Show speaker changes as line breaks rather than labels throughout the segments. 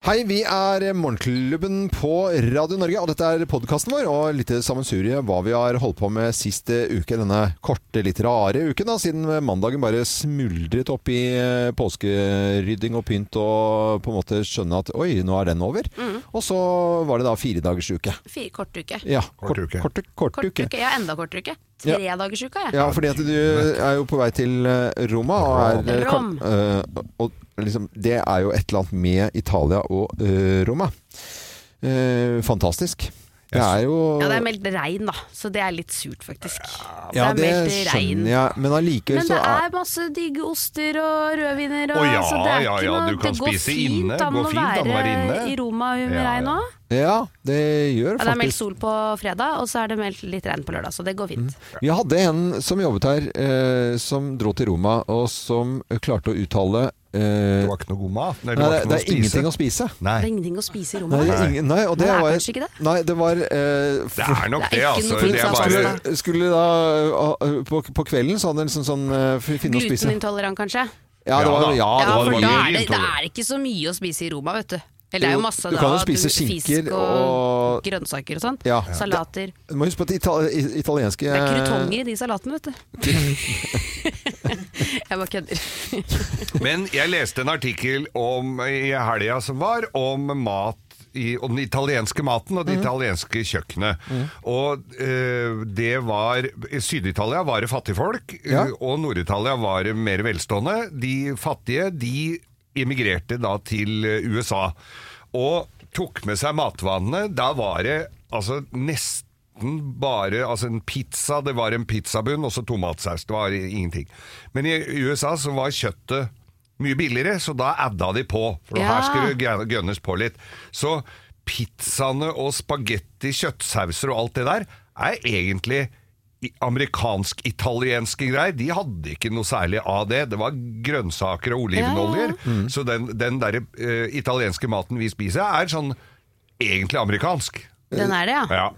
Hei, vi er Morgenklubben på Radio Norge, og dette er podkasten vår. Og litt sammensurie hva vi har holdt på med sist eh, uke. Denne korte, litt rare uken, da, siden mandagen bare smuldret opp i eh, påskerydding og pynt, og på en måte skjønne at oi, nå er den over. Og så var det da firedagersuke.
Fire kortuke.
Ja,
Kort uke.
Kort, kort, kort uke.
Kortuke, ja, enda kortere uke.
Ja.
Tredagersuka, jeg.
Ja, fordi at du er jo på vei til eh, Roma og er eh,
Rom.
kal- eh, og liksom, det er jo et eller annet med Italia og eh, Roma. Eh, fantastisk. Det er jo
Ja, det er meldt regn, da, så det er litt surt, faktisk.
Ja,
det er meldt regn.
skjønner jeg, men allikevel
Men
så
det er masse digge oster og rødviner og
Å ja,
så det er
ja,
ikke
ja,
noe-
du kan
det går
spise
fint
inne,
an
går
å
fint an å være inne.
I Roma med
Ja,
regn
ja.
òg.
Ja, det gjør
Ja, det er meldt
faktisk
sol på fredag, og så er det meldt litt regn på lørdag, så det går fint.
Vi hadde en som jobbet her, eh, som dro til Roma, og som klarte å uttale eh,
Det var ikke noe god mat. Nei,
Nei, det,
var ikke
det
noe
er ingenting å spise.
Nei,
Det er ingenting å spise i
Nei,
Roma.
det er ingen, nei, og det
Nei, det er
var
kanskje ikke det.
Nei, det var eh,
det er
Det
nok
er ikke
det,
noe
altså. Det er
pizza,
bare
pasta.
skulle, skulle da uh, på, på kvelden så hadde han liksom sånn uh, f- finne og spise
Glutenintolerant, kanskje?
Ja, det var,
Ja da.
ja,
Ja,
det var
for
mye
da er det, det
intolerant.
er ikke så mye å spise i Roma, vet du. Eller det er
Jo,
jo masse
du
da,
kan jo
at
spise skinker
Fisk
og-
grønnsaker og sånn.
Ja.
Salater.
Du må huske på at det itali i- italienske
Det er krutonger i de salatene, vet du. jeg bare kødder.
Men jeg leste en artikkel om, i helga som var, om mat i, om den italienske maten og det
Mm.
italienske kjøkkenet. Og eh, det var I Syd-Italia var det fattigfolk,
Ja.
eh, og Nord-Italia var det mer velstående. De fattige de emigrerte da til eh, USA og tok med seg matvanene. Da var det altså nesten bare altså en pizza, det var en pizzabunn og så tomatsaus. Det var ingenting. Men i USA så var kjøttet mye billigere, så da adda de på. For
Ja.
her skulle det gønnes på litt. Så pizzaene og spagetti, kjøttsauser og alt det der er egentlig i- amerikansk-italienske greier. De hadde ikke noe særlig av det. Det var grønnsaker og olivenoljer. Så den, den derre eh, italienske maten vi spiser, er sånn egentlig amerikansk.
Den er det, ja.
Ja.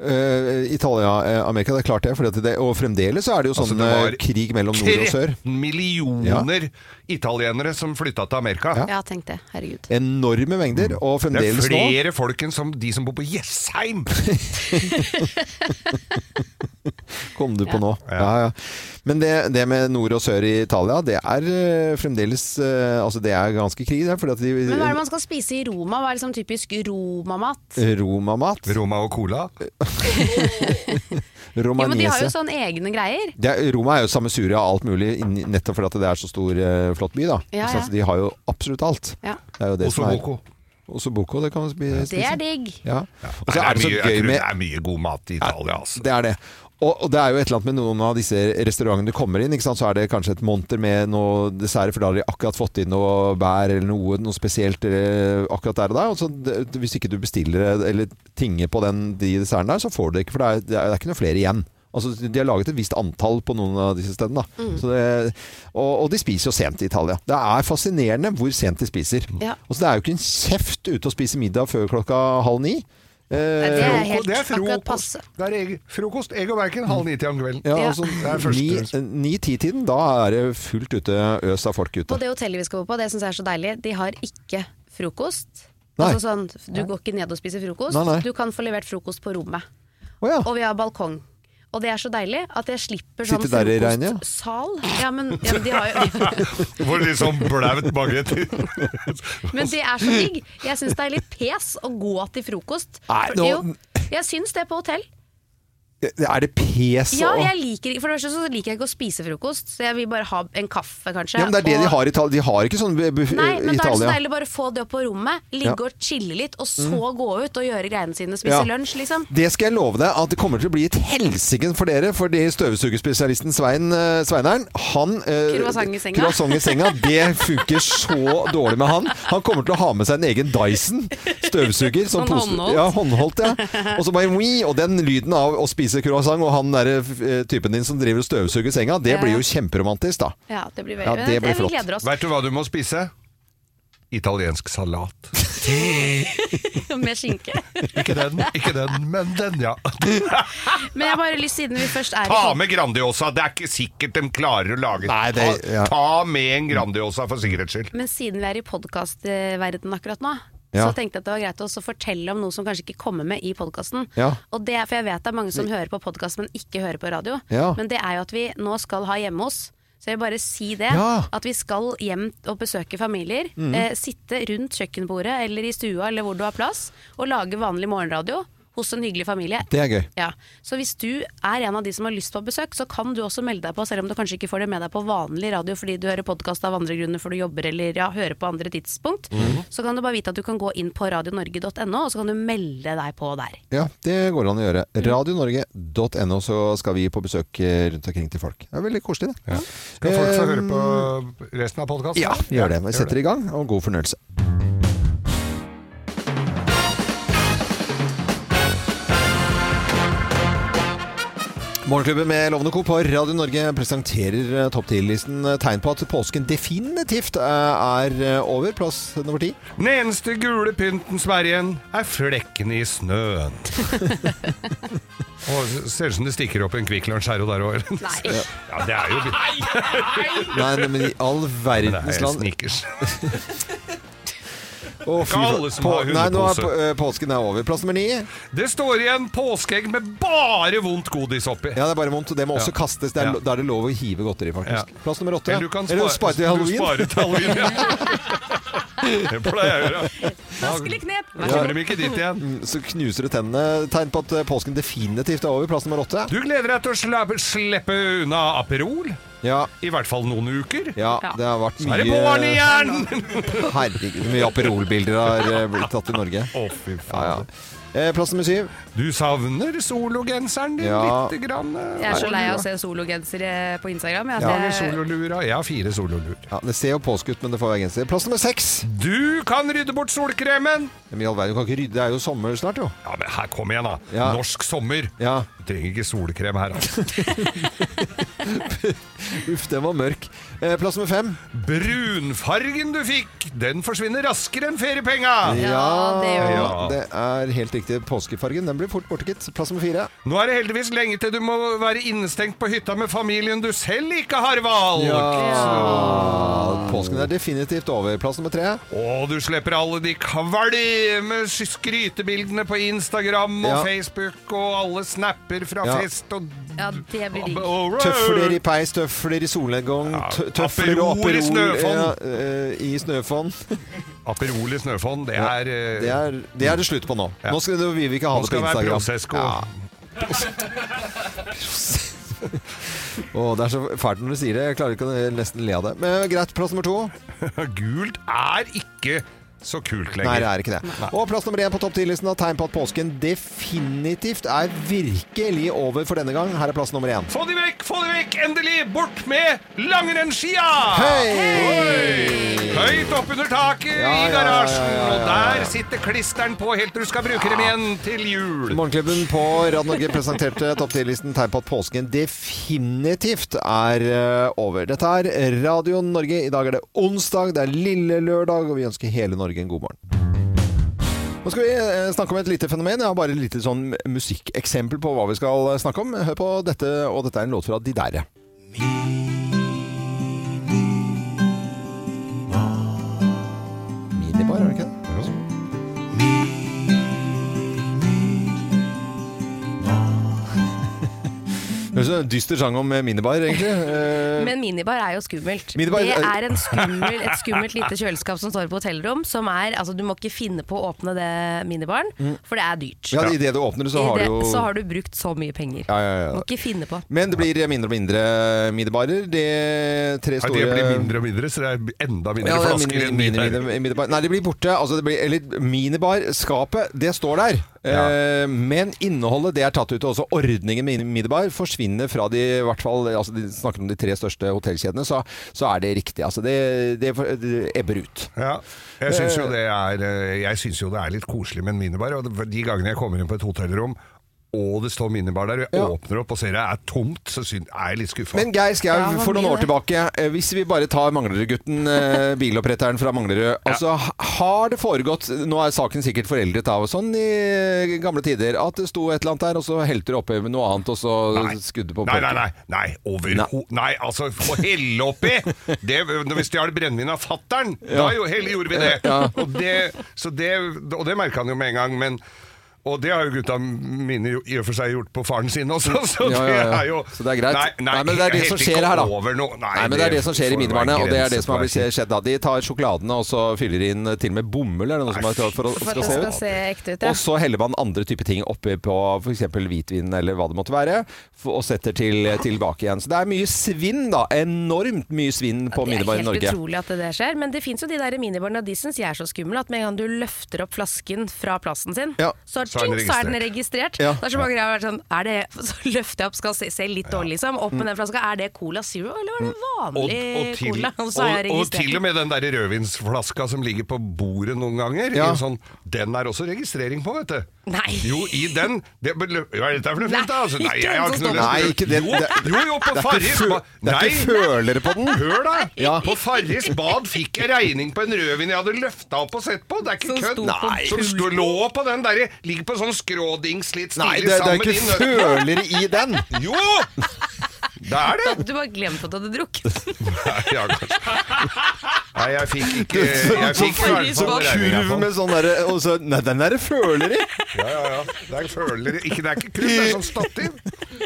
uh, Italia, eh, Amerika, det er klart det, fordi at det. Og fremdeles så er det jo sånn
Altså, det var
eh, krig mellom nord og sør.
13 millioner italienere som flytta til Amerika.
Ja, tenk det. Herregud.
Enorme mengder, og
Mm. Det er
fremdeles nå
flere folk enn som de som bor på Jessheim!
Kom du på nå? Ja, ja. Men det, det med nord og sør i Italia, det er eh, fremdeles eh, Altså, det er ganske krig, det. Fordi at de,
Men hva er det man skal spise i Roma? Hva er liksom typisk romamat?
øh, Romamat.
Roma og cola.
Jo, men de har jo
Romanese.
sånne egne greier.
det er, Roma er jo sammensuria av alt mulig, inni- nettopp fordi at det er så stor, eh, flott by. da
Ja,
Så
ja.
altså, De har jo absolutt alt.
Ja.
Det er jo det
Og så
som er-
Boko.
Også Boko, det kan man spi- spise.
Det er digg.
Ja. Og så
Nei, det,
er det så
mye, jeg
gøy
tror
med
det er mye god mat i Italia, altså.
Det er det. Og, og det er jo et eller annet med noen av disse restaurantene du kommer inn, ikke sant? så er det kanskje et monter med noe dessert, for da har de akkurat fått inn noe bær eller noe, noe spesielt eh, akkurat der og da. Og så, det- hvis ikke du bestiller det, eller tinger på den, de dessertene der, så får du det ikke, for det er, det er, det er ikke noe flere igjen. Altså, de har laget et visst antall på noen av disse stedene. Da.
Mm.
Så det, og, og de spiser jo sent i Italia. Det er fascinerende hvor sent de spiser.
Ja.
Og så det er jo ikke en kjeft ute og spise middag før klokka halv ni.
Nei,
Eh,
det er
Froko-
helt
det er
akkurat
frokost.
passe.
Det er egg, frokost, egg og bacon halv ni til om kvelden.
Ja,
Ja.
altså
Det er første-
ni-ti-tiden, da er det fullt ute øs av folk
På
ute.
det hotellet vi skal bo på, det syns jeg er så deilig, de har ikke frokost.
Nei.
Altså sånn, du går ikke ned og spiser frokost,
Nei, nei.
du kan få levert frokost på rommet.
Å ja.
Og vi har balkong. Og det er så deilig at jeg slipper sånn
Sitte der i regnet, ja.
frokostsal. Ja, men, ja, men, de har jo,
Hvor litt sånn blaut mage
men det er så digg. Jeg syns det er litt pes å gå til frokost.
Nei,
For-
nå-
Jo, jeg syns det på hotell.
Er det pes
Ja,
og
jeg liker, ikke- for det første så liker jeg ikke å spise frokost, så jeg vil bare ha en kaffe, kanskje.
ja, men Det er det
og-
de har i Italia. De har ikke sånn bu- bu-
Nei, men da er
i
det sånn så
Italia.
deilig å bare få det opp på rommet, ligge
Ja. Mm.
og chille litt, og så gå ut og gjøre greiene sine, spise
Ja.
lunsj, liksom.
Det skal jeg love deg at det kommer til å bli et helsike for dere, fordi støvsugerspesialisten Svein, eh, Sveineren, han eh,
Croissant i senga.
croissant i senga, Det funker så dårlig med han. Han kommer til å ha med seg en egen Dyson støvsuger.
Sånn
pose-
håndholdt.
Ja, håndholdt, ja. Og så bare wii, og den lyden av å spise croissant og han derre eh, typen din som driver og støvsuger senga, det
Ja.
blir jo kjemperomantisk, da.
Ja, det blir veldig
Ja, det blir
vi
flott.
gleder oss.
Vet du hva du må spise? Italiensk salat.
Med skinke.
Ikke den, ikke den, men den, ja.
Men jeg har bare lyst, siden vi først er i
Ta
pod-
med Grandiosa. Det er ikke sikkert de klarer å lage
Nei, det- ja.
ta, ta med en Grandiosa for sikkerhets skyld.
Men siden vi er i podkastverdenen akkurat nå,
Ja.
Så tenkte jeg at det var greit å også fortelle om noe som kanskje ikke kommer med i podkasten.
Ja.
Og det, for jeg vet det er mange som hører på podkast, men ikke hører på radio.
Ja.
Men det er jo at vi nå skal ha hjemme hos. Så jeg vil bare si det.
Ja. Mhm.
At vi skal hjem og besøke familier. Eh, sitte rundt kjøkkenbordet eller i stua eller hvor du har plass, og lage vanlig morgenradio hos en hyggelig familie.
Det er gøy.
Ja, Så hvis du er en av de som har lyst på besøk, så kan du også melde deg på, selv om du kanskje ikke får det med deg på vanlig radio fordi du hører podkast av andre grunner, for du jobber eller ja, hører på andre tidspunkt. Så kan du bare vite at du kan gå inn på radionorge.no, og så kan du melde deg på der.
Ja, det går an å gjøre.
Mm.
Radionorge.no, så skal vi på besøk eh, rundt omkring til folk. Det er veldig koselig, det.
Skal folk få
Eh,
høre på resten av podkasten?
Sånn. Ja, gjør det. Vi setter i gang, og god fornøyelse. Morgenklubben med Lovende Co. på Radio Norge presenterer eh, topp-ti-listen eh, tegn på at påsken definitivt eh, er eh, over. Plass nummer ti.
Den eneste gule pynten som er igjen, er flekkene i snøen. Og det ser ut som det stikker opp en Kvikk Lunsj her og der òg.
Nei.
Ja, det er jo
Nei, nei, men i all
Det
verdens
er
land
snickers.
Å, fy
Ikke
faen.
alle som
På-
har
Nei, nå er
hundepose.
på- eh, påsken er over. Plass nummer ni.
Det står igjen påskeegg med bare vondt godis oppi.
Ja, det er bare vondt. Det må også
Ja.
kastes. Det er,
Ja.
lo- Da er det lov å hive godteri, faktisk.
Ja.
Plass nummer åtte.
Eller du kan
Eller
spare,
spare til
Du
halloween.
sparer til halloween ja. Det pleier jeg å gjøre.
Raskelig knep!
Da
Vær så
kommer de ikke dit igjen.
Mm, Så knuser du tennene. Tegn på at eh, påsken definitivt er over. Plass nummer åtte.
Du gleder deg til å slappe, slippe unna Aperol,
Ja.
i hvert fall noen uker.
Ja,
Ja.
det har vært
Så er det våren
mye
igjen!
Herregud, mye Aperol-bilder har eh, blitt tatt i Norge.
Å, fy
Ja, ja.
faen.
Eh, Plass nummer syv.
Du savner sologenseren din
Ja.
lite grann. eh,
Jeg er så lei av å
og
se sologensere på Instagram. Jeg,
lua. Eller
det,
sololura. Jeg har fire sololur.
Ja, det ser jo påske ut, men det får være genser. Plass nummer seks.
Du kan rydde bort solkremen!
Men i all verden, du kan ikke rydde. Det er jo sommer snart, jo.
Ja, men her, kom igjen, da.
Ja.
Norsk sommer.
Ja.
Du trenger ikke solkrem her, altså.
Uff, den var mørk. Eh, Plass nummer fem.
Brunfargen du fikk, den forsvinner raskere enn feriepenga!
Ja, det gjør
den.
det er helt riktig. Påskefargen den blir fort borte, gitt. Plass nummer fire.
Nå er det heldigvis lenge til du må være innestengt på hytta med familien du selv ikke har valgt.
Ja, Påsken er definitivt over. Plass nummer tre.
Og du slipper alle de kvalme skrytebildene på Instagram og
Ja.
Facebook og alle snapper fra
Ja.
fest og
ja, det blir digg.
og- og-
Tøfler i peis, tøfler i solnedgang,
Ja,
tø- tøfler og
Aperol i
Aperol
snøfonn.
ja, eh, i snøfonn.
Aperol i snøfond, det er, eh,
Det er, det er det slutt på nå.
Ja.
Nå skal det, vi vil ikke ha
Nå
det på
skal det være
Instagram.
prosessko.
Å, det er så fælt når du sier det. Jeg klarer ikke å eh, nesten le av det. Men greit, plass nummer to.
Gult er ikke så kult lenger.
Nei, det er ikke det. Og plass nummer én på topp 10-listen har tegn på at påsken definitivt er virkelig over for denne gang. Her er plass nummer én.
Få de vekk, få de vekk! Endelig bort med langrennsskia!
Hei!
Oi! Høyt oppunder taket
Ja,
i
ja, ja,
garasjen,
ja, ja, ja,
og der sitter klisteren på helt til du skal bruke dem igjen til jul.
Morgenklubben på Radio Norge presenterte topp 10-listen tegn på at påsken definitivt er eh, over. Dette er Radio Norge. I dag er det onsdag, det er lille lørdag, og vi ønsker hele Norge en god morgen. Nå skal vi eh, snakke om et lite fenomen. Jeg har bare et lite sånn musikkeksempel på hva vi skal eh, snakke om. Hør på dette, og dette er en låt fra De Derre. Minibar, er det ikke det? Det høres ut som en dyster sang om eh, minibar, egentlig. Eh,
Men minibar er jo skummelt.
Minibar-
det er en skummel, et skummelt lite kjøleskap som står på hotellrom. Som er, altså Du må ikke finne på å åpne det minibaren, for det er dyrt.
Ja, Idet du åpner det, så
I
har du
det,
jo
så har du brukt så mye penger.
ja, ja, ja.
Må ikke finne på.
Men det blir mindre og mindre minibarer. Det er tre
Nei,
store
det blir mindre og mindre, så det er enda mindre
ja, det er
flasker
mini,
enn
mini,
de der.
mini, minibar. Nei, det blir borte. Altså, det blir, eller minibarskapet, det står der.
Ja.
Eh, men innholdet det er tatt ut. Også ordningen med minibar forsvinner fra de i hvert fall, altså de snakker om de tre største hotellkjedene, så, så er det riktig. Altså, det, det, det ebber ut.
Ja. Jeg syns eh, jo, det er, eh, jeg synes jo det er litt koselig med en minibar. Og de gangene jeg kommer inn på et hotellrom og det står minibar der. Og jeg
Ja.
åpner opp og ser det er tomt, så syn- er jeg litt skuffa.
Men Geir Skau,
Ja, hva
for noen
blir
år
det?
tilbake, eh, hvis vi bare tar Manglerudgutten, eh, biloppretteren fra Manglerud altså, Har det foregått, nå er saken sikkert foreldet av og sånn i gamle tider, at det sto et eller annet der, og så helte det oppi med noe annet, og så skudde på
Nei,
pucken?
nei, nei, nei, overho... Nei, altså, å helle oppi! Det, når vi stjal brennevin av fattern, da jo, hell- gjorde vi det. Og det, så det, og det merka han jo med en gang. men og det har jo gutta mine jo i og for seg gjort på faren sin også, så
Ja, ja, ja.
det er jo
Så det er greit.
Nei, nei,
Nei, men det er det
helt
som
ikke
skjer her, da.
over noe. Nei,
Nei, men det er det som skjer i
får være
minibarene, og det er det
grenser
som har
for
blitt skjedd da. De tar sjokoladene, og så fyller de inn eh, til og med bomull, er det noe som
Nei,
har klart for å
For at
skal
det
se
skal
ut?
se ekte ut, ja.
Og så heller man andre typer ting oppi på f.eks. hvitvin eller hva det måtte være, f- og setter til, tilbake igjen. Så det er mye svinn, da. Enormt mye svinn
det
på
er
minibar i
helt
Norge.
utrolig at det der skjer, men det fins jo de der minibarene, og de syns jeg er så skumle at med en gang du løfter opp flasken fra plassen sin,
Ja.
så,
Så er den
tjong, så er den registrert.
Ja.
Det er så mange ganger jeg har vært sånn er det, Så løfter jeg opp, skal se, se litt dårlig, liksom. Opp
Mm.
med den flaska. Er det Cola Zero, eller var det
Og,
vanlig
og, til,
Cola? Og så har jeg
og, og
registrert
til og med den der rødvinsflaska som ligger på bordet noen ganger, i
Ja.
en sånn, den er også registrering på, vet du.
Nei.
Jo, i den det, Hva er dette for noe fint, da? Altså,
Nei,
nei,
ikke
jeg har
den
ikke
som
noe
står på. Nei, ikke den.
Jo,
Det-
jo, jo, på
Det er,
Farris
ikke fø-
ba-
det er
Nei,
ikke følere på den!
Hør da!
Ja.
På Farris bad fikk jeg regning på en rødvin jeg hadde løfta opp og sett på. Det er ikke
Som
kødd.
sto på Nei.
Som sto, lå på den derre Ligger på en sånn skrådings litt
Nei,
stilig
det, det er
sammen med din
ikke følere i den!
Jo! Det er det.
Du bare glemte at du hadde drukket.
Nei, ja, kanskje. Nei, jeg fikk ikke Jeg fikk i hvert
Så
fall regninga
kurv
på den.
med sånn derre og så- Nei, den er det føler i!
Ja, ja, ja. Det er føler ikke, Det er ikke kurv, det er sånn stativ.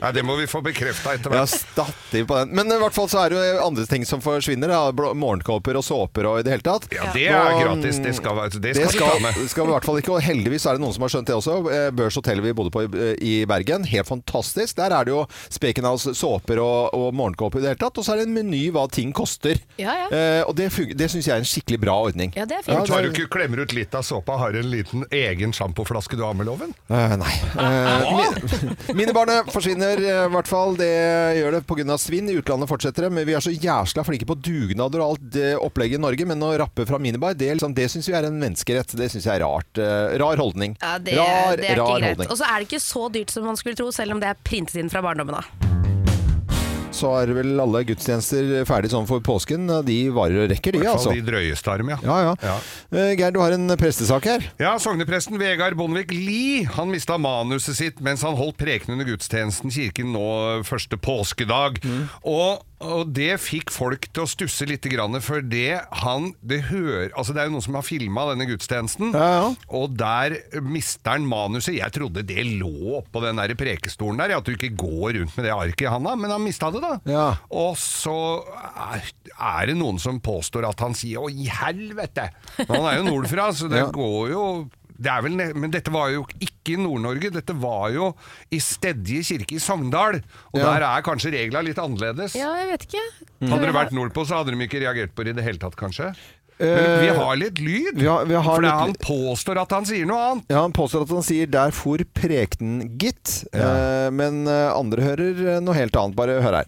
Nei, det må vi få bekrefta etter
Ja,
hvert.
stativ på den. Men i hvert fall så er det jo andre ting som forsvinner. Da. Blå- Morgenkåper og såper og i det hele tatt.
Ja, det er
Nå,
gratis. Det skal, være- det
Det
skal, vi ta
skal,
med.
skal vi i hvert fall ikke, og heldigvis er det noen som har skjønt det også. Eh, Børs hotell vi bodde på i, eh, i Bergen, helt fantastisk. Der er det jo Spekenhavs såper og, og morgenkåper i det hele tatt, og så er det en meny hva ting koster.
Ja, ja.
Eh, og det, fun- det syns jeg er en skikkelig bra ordning.
Ja, det er
Ja,
fint.
det-
Tar du ikke klemmer ut litt av såpa, har du en liten egen sjampoflaske du har med loven?
Eh, nei. Eh, mi- Minibarnet forsvinner eh, i hvert fall. Det gjør det pga. svinn. I utlandet fortsetter det. Men vi er så jæsla flinke på dugnader og alt det opplegget i Norge. Men å rappe fra minibar, det, er liksom, det syns vi er en menneskerett. Det syns jeg er rart. Eh, rar holdning.
Ja, det,
rar,
det er ikke
rar
greit.
holdning.
Og så er det ikke så dyrt som man skulle tro, selv om det er printet inn fra barndommen av.
Så er vel alle gudstjenester ferdig sånn for påsken. De varer og rekker, de,
I hvert
altså.
fall de drøyeste har dem,
Ja, ja.
Ja.
Eh, Geir, du har en prestesak her.
Ja, Sognepresten Vegard Bondevik Lie han mista manuset sitt mens han holdt preken under gudstjenesten i kirken nå første påskedag. Og, og det fikk folk til å stusse litt, grann, for det han det, hører, altså det er jo noen som har filma denne gudstjenesten,
Ja, ja.
og der mister han manuset. Jeg trodde det lå oppå den der prekestolen der, at du ikke går rundt med det arket i handa, men han mista det, da.
Ja.
Og så er, er det noen som påstår at han sier 'å, i helvete'. Men han er jo nordfra, så det
Ja.
går jo det er vel, ne- men dette var jo ikke i Nord-Norge, dette var jo i Stedje kirke i Sogndal. Og
Ja.
der er kanskje reglene litt annerledes.
Ja, jeg vet ikke.
Hadde det vært nordpå, så hadde de ikke reagert på det i det hele tatt, kanskje. Men vi har litt lyd,
Eh, vi har- vi har
for det
litt
er
lyd.
han påstår at han sier noe annet.
Ja, Han påstår at han sier 'der for prekenen, gitt'. Eh, men eh, andre hører eh, noe helt annet. Bare hør her.
at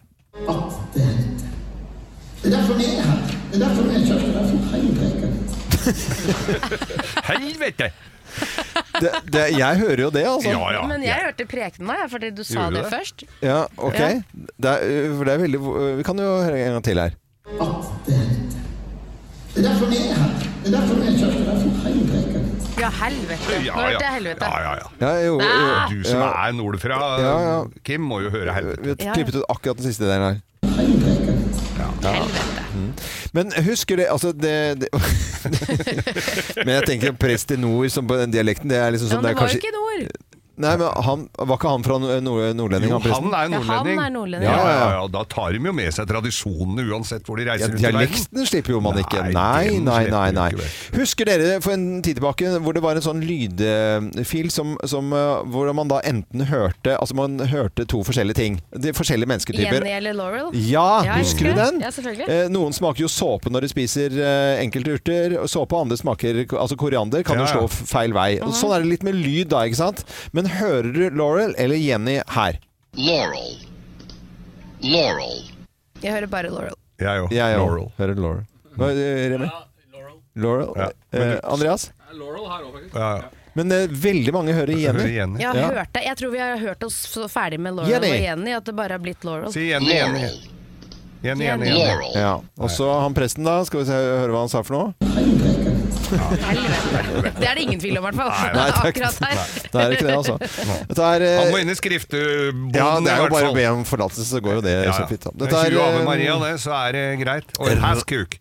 det hendte. Det er derfor vi er her. Det er derfor vi er i kirken. Det er derfor vi heimbreker.
Helvete!
Det, det, jeg hører jo det, altså.
Ja, ja.
Men jeg hørte prekenen av, jeg, fordi du sa
Gjorde du
det
det?
først.
Ja, ok.
Ja.
Det er, eh, for det er veldig eh, Vi kan jo høre en gang til her.
At det hendte. Det er derfor vi er her. Det er derfor vi er i kirken. Det er derfor vi heimbreker.
Ja, helvete. Nå
Ja,
hørte jeg
ja.
helvete.
ja, ja, ja.
Ja, jo, jo.
Ah.
Du som er nordfra,
Ja, ja.
Kim, må jo høre
Vi
helvete.
har klippet ut akkurat den siste delen her.
Heimbreker.
Men husker det Altså, det, det Men jeg tenker prest i nord som på den dialekten, det er liksom
Ja,
sånn
men det
er
var
kanskje-
jo ikke et ord.
Nei, men han, Var ikke han fra nord- nordlending?
Jo,
han presten?
han er
Ja, han
nordlending.
er nordlending.
Ja,
Ja,
ja,
ja.
ja. Da tar de jo med seg tradisjonene uansett hvor de
Ja,
reiser rundt i verden.
dialekten slipper jo man ikke.
Nei,
Nei,
den
nei,
slipper
nei.
du
nei.
ikke vekk.
Husker dere for en tid tilbake hvor det var en sånn lydfil som, som eh, Hvor man da enten hørte Altså man hørte to forskjellige ting. De forskjellige mennesketyper.
Jenny eller Laurel.
Ja,
Ja, jeg
husker du
husker.
den?
Ja, selvfølgelig.
Eh, noen smaker jo såpe når de spiser eh, enkelte urter. og Såpe, andre smaker Altså koriander kan
Ja,
jo
ja.
slå f- feil vei. Og Sånn er det litt med lyd da, ikke sant? Men hører du Laurel eller Jenny her?
Laurel. Laurel.
Jeg hører bare Laurel.
Jeg òg.
Jeg òg.
Laurel.
Hører Laurel. Hva, eh, Remi?
Ja, Laurel.
Laurel?
Ja.
Eh, Andreas?
Ja, Laurel her òg, faktisk.
Ja, ja.
Men eh, veldig mange hører Jenny.
Hører Jenny.
Jeg, har
Ja.
hørt det. jeg tror vi har hørt oss så ferdig med Laurel
Jenny.
og Jenny, at det bare har blitt Laurel.
Si Jenny, Jenny.
Laurel.
Jenny, Jenny, Jenny.
Laurel.
Ja. Og så han presten, da. Skal vi se, høre hva han sa for noe?
Det er det ingen tvil om, i hvert fall.
Nei, takk.
Akkurat her.
Det er ikke det, altså. Dette er, eh,
Han må inn i skrifteboden,
ja, det er
i
jo
hvert
bare å
fall.
be om forlatelse, så går jo det
Ja, ja.
kjempefint. da.
Det
Dette
er 20 Ave
eh,
Maria, det, så er det greit. Og en
Er-
hestkuk.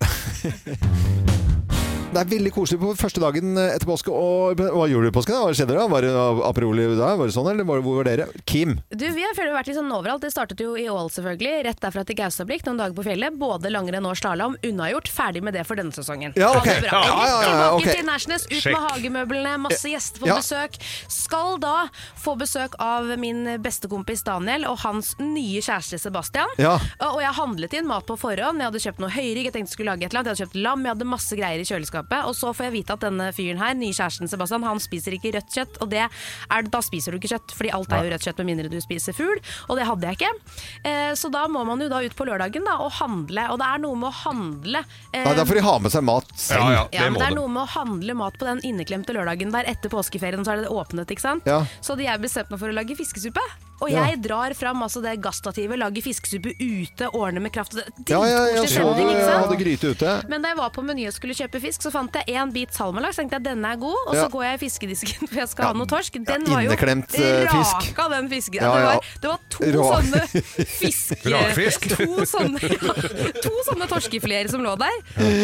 Det er veldig koselig på første dagen etter påske. Og, hva gjorde du i påsken? da? Hva skjedde da? Var det Aperoli da? Var det sånn, eller var det, hvor var dere? Kim.
Du, Vi har føler, vært litt sånn overalt. Det startet jo i Ål, selvfølgelig. Rett derfra til Gaustablikk, noen dager på fjellet. Både langrenn og slalåm. Unnagjort. Ferdig med det for denne sesongen.
Ja,
Ha
ok.
det bra.
Ja, ja, ja, ja, ok.
Tilbake til Nashnes, ut
Sjekk.
med hagemøblene, masse gjester på
Ja.
besøk. Skal da få besøk av min bestekompis Daniel og hans nye kjæreste Sebastian.
Ja.
Og jeg handlet inn mat på forhånd. Jeg hadde kjøpt noe høyrygg, jeg tenkte jeg skulle lage et eller annet. Jeg hadde kjøpt lam, jeg hadde masse greier i kjøleskapet. Og så får jeg vite at denne fyren her, nye kjæresten Sebastian, han spiser ikke rødt kjøtt. Og det er, da spiser du ikke kjøtt, fordi alt er jo rødt kjøtt med mindre du spiser fugl. Og det hadde jeg ikke. Eh, så da må man jo da ut på lørdagen da, og handle. Og det er noe med å handle eh,
Nei, da får de ha med seg mat selv.
Ja, ja,
ja,
det
men
må
det er
du.
noe med å handle mat på den inneklemte lørdagen der etter påskeferien, så er det åpnet, ikke sant?
Ja.
Så hadde jeg bestemt meg for å lage fiskesuppe. Og
Ja.
jeg drar fram altså, det gasstativet, lager fiskesuppe ute, ordner med kraft. og det-
Ja, ja, jeg
Dritkoselig
så du
stemning, ikke
hadde
sant?
gryte ute.
Men da jeg var på Meny og skulle kjøpe fisk, så fant jeg en bit salmalaks. Tenkte jeg denne er god, og
Ja.
så går jeg i fiskedisken for jeg skal ha noe torsk. Den
ja,
var jo
inneklemt, eh, fisk.
Raka den fisken.
Ja, ja.
Det, var, det var to
Ra-
sånne fisk...
Rakfisk.
To sånne, ja, to sånne torskefileter som lå der.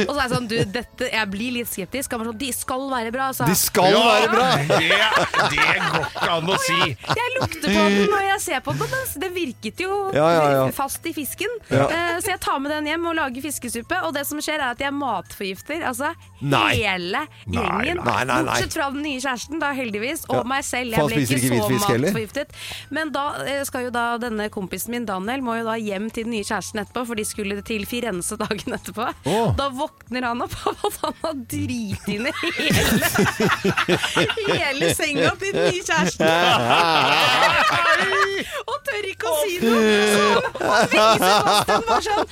Og så er jeg sånn, du, dette, jeg blir litt skeptisk. Han var sånn, de skal være bra, sa
De
jeg.
skal være bra!
det, det går ikke an å si!
Jeg lukter på den når jeg ser på den. Den- Den virket jo
Ja, ja, ja.
fast i fisken.
Ja.
Eh, Så jeg tar med den hjem og lager fiskesuppe. Og det som skjer, er at jeg matforgifter altså
Nei.
hele
Nei,
gjengen.
nei, nei, nei.
Bortsett fra den nye kjæresten, da heldigvis. Og
Ja.
meg selv.
For han
Jeg ble
spiser
ikke
ikke
så
hvitfisk heller.
matforgiftet. Men da eh, skal jo da denne kompisen min, Daniel, må jo da hjem til den nye kjæresten etterpå, for de skulle til Firenze dagen etterpå.
Åh.
Da våkner han opp av at han har driti ned hele hele senga til den nye kjæresten. og tør ikke å si noe. Så han vekker Sebastian bare sånn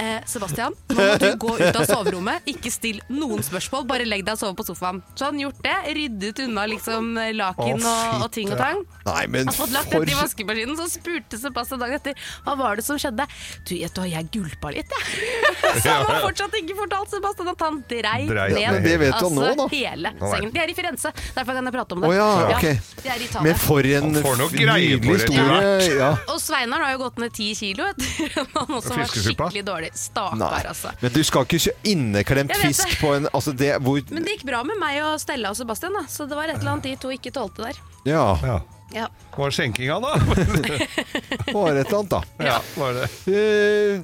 eh, Sebastian, nå må du gå ut av soverommet. Ikke still noen spørsmål, bare legg deg og sove på sofaen. Så han gjort det. Ryddet unna liksom laken
Å,
og, og ting og tang.
Nei, men
Han fått lagt
for
dette i vaskemaskinen, så spurte Sebastian dagen etter hva var det som skjedde. Du, vet du hva, jeg gulpa litt, jeg. Så han har fortsatt ikke fortalt Sebastian at han dreit
Dreit
ned
ned.
Det vet han
altså,
nå, da.
hele
Nå er-
sengen. De er i Firenze, derfor kan jeg prate om det.
Å ja, ok.
de er i Italia.
Men for en
Han får noe greie på
nydelig
det etter
historie. Ja.
Og Sveinar har jo gått ned ti kilo etter at han også var
Fiskesuppa?
skikkelig dårlig. Stakkar,
Nei.
altså.
Men du skal ikke kjø inneklemt
Jeg vet
fisk
det.
på en Altså, det hvor
Men det gikk bra med meg og Stella og Sebastian, da. så det var et eller annet de to ikke tålte der.
Ja,
Ja.
Ja.
Var skjenkinga, da?
var et eller annet, da.
Ja, var det.
Eh,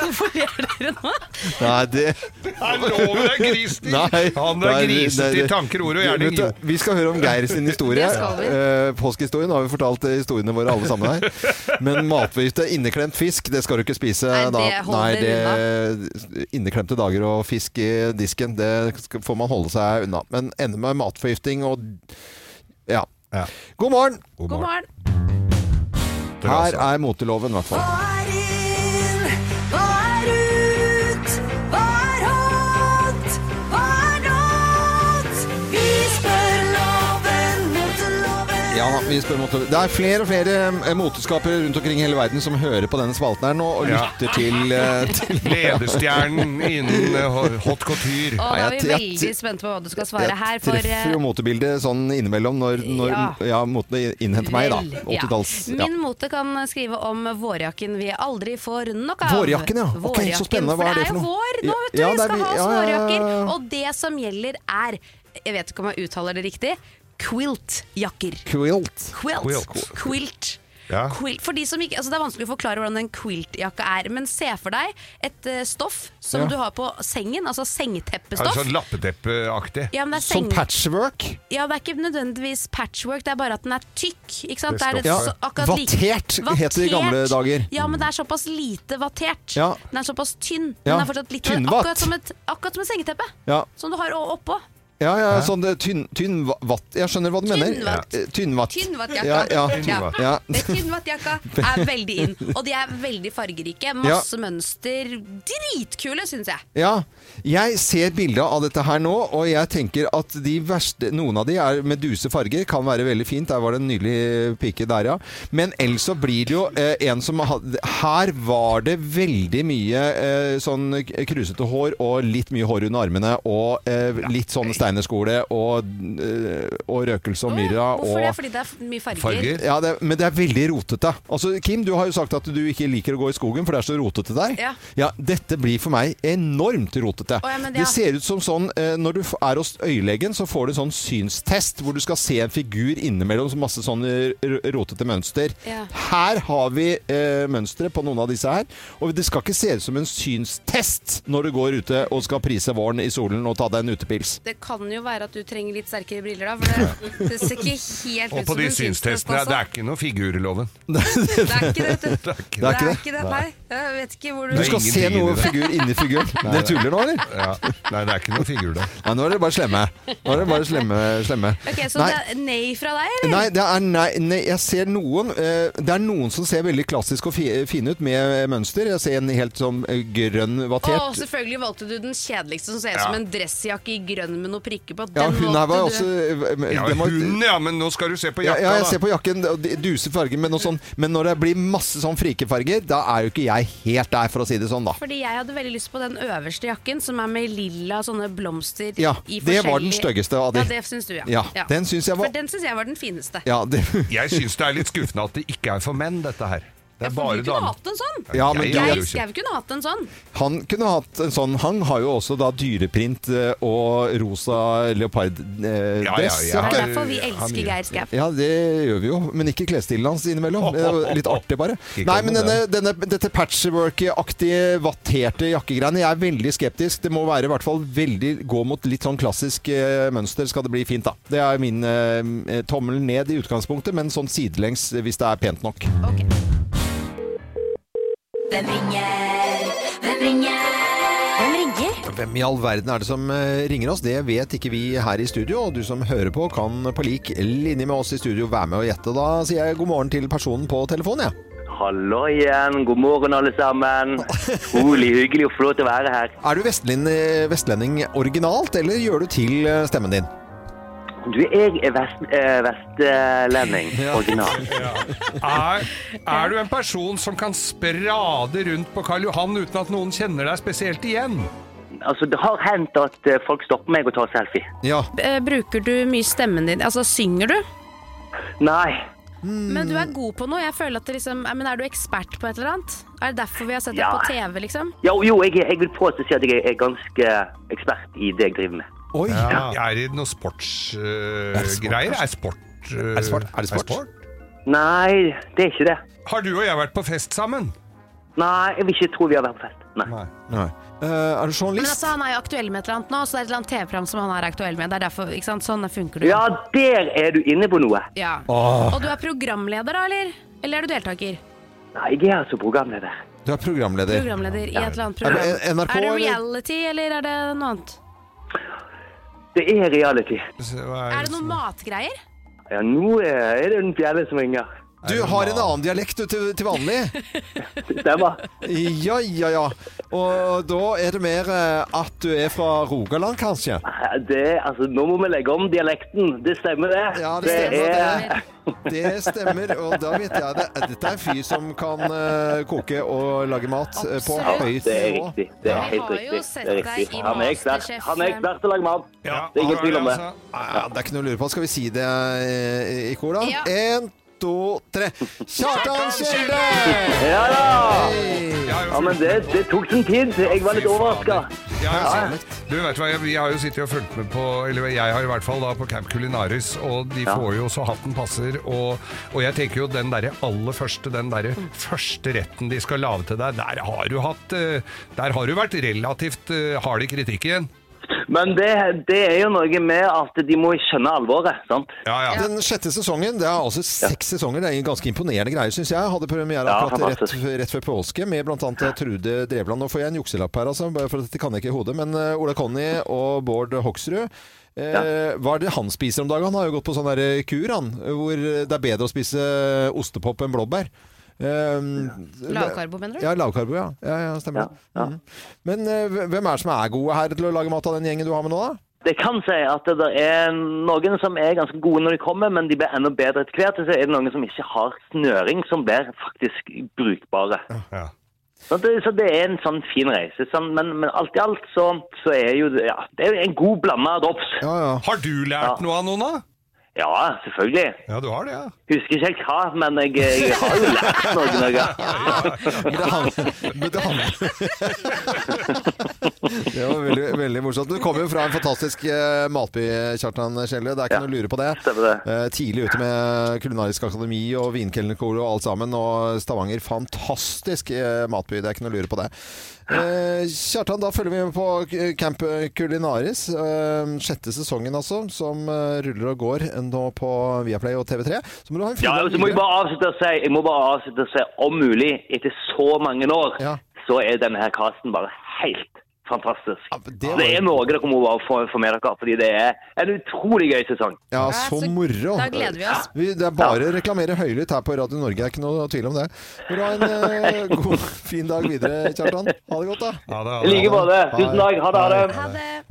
Hvorfor ler dere nå?
nei, det
Nei, lover deg grisen!
Nei,
Han
nei,
er griset
nei,
i tanker, ord og gjerning.
Vet du, Vi skal høre om Geir sin historie.
Det skal vi.
Eh, Påskehistorien har vi fortalt eh, historiene våre alle sammen her. Men matforgifte, inneklemt fisk, det skal du ikke spise.
Nei, det holder
det- Inneklemte dager og fisk i disken, det skal, får man holde seg unna. Men ender med matforgifting og ja.
Ja.
God morgen!
God morgen.
Her
altså.
er moteloven, i hvert fall.
Hva er inn? Hva er ut? Hva er hot? Hva er not? Vi spør loven mot loven.
Ja, da, vi spør mote. Det er flere og flere eh, moteskapere rundt omkring i hele verden som hører på denne spalten her nå og
Ja.
lytter til, eh, til
Ledestjernen innen eh, hot couture.
Og
Nei,
da er
jeg-
vi
jeg-
veldig spente på hva du skal svare
Jeg
her, for
treffer
eh,
jo motebildet sånn innimellom når, når ja.
Ja.
motene innhenter meg, da.
Vel, ja.
80-talls. Ja.
Min mote kan skrive om vårjakken vi aldri får nok av.
Vårjakken, ja. Ok, så
Vårjakken,
spennende. Hva er det for
For
noe?
det er jo vår nå, vet du.
Ja, det
vi
er
skal
vi-
ha oss
ja, ja, ja, ja.
vårjakker. Og det som gjelder er, jeg vet ikke om jeg uttaler det riktig, quilt-jakker.
Quilt.
Quilt.
Quilt.
Quilt.
Ja.
Quilt. For de som ikke, altså det er vanskelig å forklare hvordan en quiltjakke er, men se for deg et eh, stoff som
Ja.
du har på sengen, altså
Er det
sengeteppestoff.
sånn lappeteppeaktig?
Ja, men det er
Som
seng-
Sånn patchwork.
ja, det er ikke nødvendigvis patchwork, det er bare at den er tykk. Ikke sant?
Det
Det er
Ja.
så akkurat lik-
Vattert het det i gamle
Vattert.
dager.
Ja, men det er såpass lite vattert.
Ja.
Den er såpass tynn.
Ja.
Den er fortsatt litt
Tynnvatt.
akkurat som, et, akkurat som et sengeteppe
Ja.
som du har å- oppå.
Ja, ja, sånn det, tynn, tynn va- vatt Jeg skjønner hva du mener.
Tynnvatt.
Eh, Tynnvatt.
Tynnvattjakka.
Ja, ja.
Ja.
Ja.
Det Tynnvattjakka er veldig in. Og de er veldig fargerike. Masse mønster. Dritkule, syns jeg.
ja. Jeg ser bilder av dette her nå, og jeg tenker at de verste Noen av de er med duse farger, kan være veldig fint. Der var det en nydelig pike der, ja. Men ellers så blir det jo eh, en som hadde Her var det veldig mye eh, sånn k- krusete hår og litt mye hår under armene og eh, litt sånn steinerskole og, eh, og røkelse og myrra og
Hvorfor det? Fordi det er f- mye farger.
Farger.
Ja, det, men det er veldig rotete. Altså, Kim, du har jo sagt at du ikke liker å gå i skogen, for det er så rotete der.
Ja.
dette blir for meg enormt rotete.
Å, ja, men det-
det, ser ut som sånn eh, Når du f- er hos øyelegen, så får du sånn synstest, hvor du skal se en figur innimellom som masse sånne r- rotete mønster.
Ja.
Her har vi eh, mønstre på noen av disse her, og det skal ikke se ut som en synstest når du går ute og skal prise våren i solen og ta deg en utepils.
Det kan jo være at du trenger litt sterkere briller da, for det, det ser ikke helt ut
Og på
som
de
en synstest.
synstestene, det
Altså.
er ikke noe figur i loven.
Det er ikke det, vet du.
Det
ikke
er ikke
Det
det.
er ikke det, nei. Jeg vet ikke hvor
Du
du
Nei.
skal se
ingenting i
noe
det.
figur inni figuren. Det tuller nå, eller?
Ja. Nei, det er ikke noe figur der.
Nei, nå er dere bare slemme. Nå er dere bare slemme, slemme.
Ok, Så
nei,
det er nei fra deg, eller?
nei, det er nei, nei, jeg ser noen eh, Det er noen som ser veldig klassisk og fi, fine ut med mønster. Jeg ser en helt sånn eh, grønn
Å,
vattert.
selvfølgelig valgte du den kjedeligste som ser ut
Ja.
som en dressjakke i grønn med noen prikker på. Den
ja, hun her var også
valgte du.
eh,
Ja,
den var-
hun, ja, men nå skal du se på
ja,
jakta,
ja, jeg ser
da.
på jakken og de- duse farger, men, noe sånn, men når det blir masse sånn frikefarger, da er jo ikke jeg helt der, for å si det sånn, da.
Fordi jeg hadde veldig lyst på den øverste jakken, som er med lilla sånne blomster
Ja,
i
det var den
forskjellige-
styggeste av de.
Ja, det syns du, ja.
Ja, den syns jeg var-
For den syns jeg var den fineste.
Ja, det,
Jeg syns det er litt skuffende at det ikke er for menn, dette her. Det er
for
bare
du kunne
damer.
hatt en sånn!
ja, men
Jeg-
du,
jeg-
Jeg skrev kunne hatt en sånn.
Han kunne hatt en sånn Han har jo også da dyreprint eh, og rosa leoparddress. Eh,
Ja, ja,
dress,
jeg
Det
ja,
har-
er derfor vi
har mye.
elsker Geir Skau.
ja, det gjør vi jo, men ikke klesstilen hans innimellom. Det er jo litt artig, bare. Nei,
Ikke kom
men
med
denne, denne, dette patchwork-aktige, vatterte jakkegreiene, jeg er veldig skeptisk. Det må være i hvert fall veldig gå mot litt sånn klassisk eh, mønster, skal det bli fint, da. Det er min eh, tommel ned i utgangspunktet, men sånn sidelengs eh, hvis det er pent nok.
Hvem ringer? Hvem ringer? Hvem ringer?
Hvem i all verden er det som eh, ringer oss? Det vet ikke vi her i studio, og du som hører på kan på lik linje med oss i studio være med og gjette. Da sier jeg god morgen til personen på telefonen, jeg.
Hallo igjen, god morgen alle sammen. Utrolig hyggelig å få lov til å være her.
Er du vestlin, eh, vestlending originalt, eller gjør du til eh, stemmen din?
Du, jeg er vest, eh, vestlending, original.
Er, er du en person som kan sprade rundt på Karl Johan uten at noen kjenner deg spesielt igjen?
Altså, det har hendt at eh, folk stopper meg og tar selfie.
Ja.
Eh, Bruker du mye stemmen din? Altså, synger du?
Nei, Mm.
Men du er god på noe. Jeg føler at det liksom eh, Men er du ekspert på et eller annet? Er det derfor vi har sett deg
Ja.
på TV, liksom?
jo, jo jeg, jeg vil påstå å si at jeg er ganske ekspert i det jeg driver med.
Oi.
Er det noe sportsgreier? er sport eh,
det sport? Er det sport?
Nei, det er ikke det.
Har du og jeg vært på fest sammen?
Nei, jeg vil ikke tro vi har vært på fest. Nei.
Nei. Eh, er du
Men
journalist?
altså, han er jo aktuell med et eller annet nå, så det er et eller annet TV-program som han er aktuell med. Det er derfor, ikke sant? Sånn funker du.
Ja, der er du inne på noe.
Ja.
Ah.
Og du er programleder, da, eller? Eller er du deltaker?
Nei, jeg er altså programleder.
Du er programleder.
Programleder i et eller annet
Er
program.
det N- NRK,
er det
eller?
reality, eller er det noe annet?
Det er reality.
Så er-
Er det noen matgreier?
Ja, nå eh, er det den fjerde som ringer.
Du har en annen dialekt du, til, til vanlig.
Stemmer.
Ja, ja, ja. Og da er det mer eh, at du er fra Rogaland, kanskje?
Ja, Det, altså, nå må vi legge om dialekten. Det stemmer, det.
Ja, det stemmer.
er,
Det, det stemmer, og da vet jeg det. Dette er en fyr som kan eh, koke og lage mat eh, på
Absolutt.
høyt
det er
nivå.
riktig. Det er
Vi
helt
har jo
riktig.
sett
Det er
deg
riktig.
i
Han er ekspert.
Masterchef. eh.
Han er ekspert til å lage mat. Det er ingen
har
tvil om det.
altså.
Ja, det er ikke noe å lure på. Skal vi si det eh, i kor, da?
Ja.
Én, to, tre. Kjartan Kjelde!
Ja da!
Jeg har jo
Ja, men det, det tok sin tid. Jeg var litt overraska.
Jeg har jo sett- Du vet hva, jeg- Vi har jo sittet og fulgt med på Eller jeg har i hvert fall da på Camp Culinaris, og de får jo så hatten passer. Og, og jeg tenker jo den derre aller første, den derre første retten de skal lage til deg, der har du hatt eh, Der har du vært relativt eh, hard i kritikken.
Men det, det er jo noe med at de må skjønne alvoret, sant?
Ja, ja.
Den sjette sesongen, det er altså seks sesonger. Det er en ganske imponerende greie, syns jeg. Hadde premiere
Ja,
akkurat rett,
fantastisk.
rett før påske med bl.a. Trude Drevland. Nå får jeg en jukselapp her, altså, bare for dette kan jeg ikke i hodet. Men eh, Ola Conny og Bård Hoksrud. Eh, Hva er det han spiser om dagen? Han har jo gått på sånn der eh, kur, han. Hvor eh, det er bedre å spise ostepop enn blåbær. Eh,
Lavkarbo, mener du?
Ja, lavkarbo, ja. ja, ja stemmer
Ja,
det.
ja.
Mhm. Men eh, hvem er det som er gode her til å lage mat av den gjengen du har med nå, da?
Det kan si at det der er noen som er ganske gode når de kommer, men de blir enda bedre etter hvert. Så er det noen som ikke har snøring, som blir faktisk brukbare.
Ja.
Så det, så det er en sånn fin reise. Sånn, men, men alt i alt så, så er jo det- ja, det er jo en god blanda drops.
Ja, ja.
Har du
Ja.
lært noe av noen, da?
Ja, selvfølgelig.
Ja, du har det, ja.
Husker ikke helt hva, men jeg, jeg har jo lært noe. noe.
Men det handler, men det, handler. det var veldig, veldig morsomt. Du kommer jo fra en fantastisk eh, matby, Kjartan Skjelle. Det er ikke
Ja,
noe å lure på det.
stemmer det.
Eh, tidlig ute med Kulinarisk akademi og Vinkelnerkoret og alt sammen. Og Stavanger, fantastisk eh, matby. Det er ikke noe å lure på det. Eh, Kjartan, da følger vi med på K- Camp Culinaris. Eh, sjette sesongen, altså, som eh, ruller og går nå på Viaplay og TV3. Så må du ha en fin
Ja,
dag
og så må jeg
videre.
bare avslutte å si, jeg må bare avslutte å si om mulig, etter så mange år,
Ja.
så er denne her casten bare helt fantastisk.
Ja, men det var-
det er noe dere må bare få, få med dere, fordi det er en utrolig gøy sesong.
Ja,
Ja,
så
så-
moro.
Da gleder vi oss.
Vi, det er bare å reklamere høylytt her på Radio Norge, det er ikke noe tvil om det. Må du ha en eh, god, fin dag videre, Kjartan. Ha det godt, da.
Ja, det,
I like måte. Tusen takk. Ha det. Ha det.
Ha det.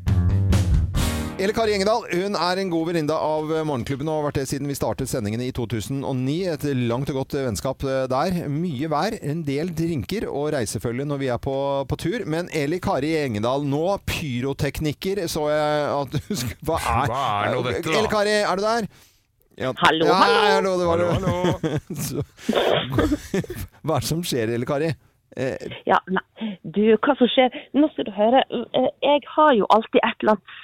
Eller Kari Engedal, hun er en god venninne av eh, Morgenklubben og har vært det siden vi startet sendingene i 2009. Et langt og godt vennskap eh, der. Mye vær, en del drinker og reisefølge når vi er på, på tur. Men Eli Kari Engedal, nå pyroteknikker, så jeg at du sk- Hva er,
Hva er nå dette, da?
Eli Kari, er du der? Ja.
Hallo,
ja,
hallo.
hallo. Det var
Hallo,
det.
hallo.
Så, hva er det som skjer, Elle Kari? Eh,
Ja, nei, du, hva som skjer? Nå skal du høre, eh, jeg har jo alltid et eller annet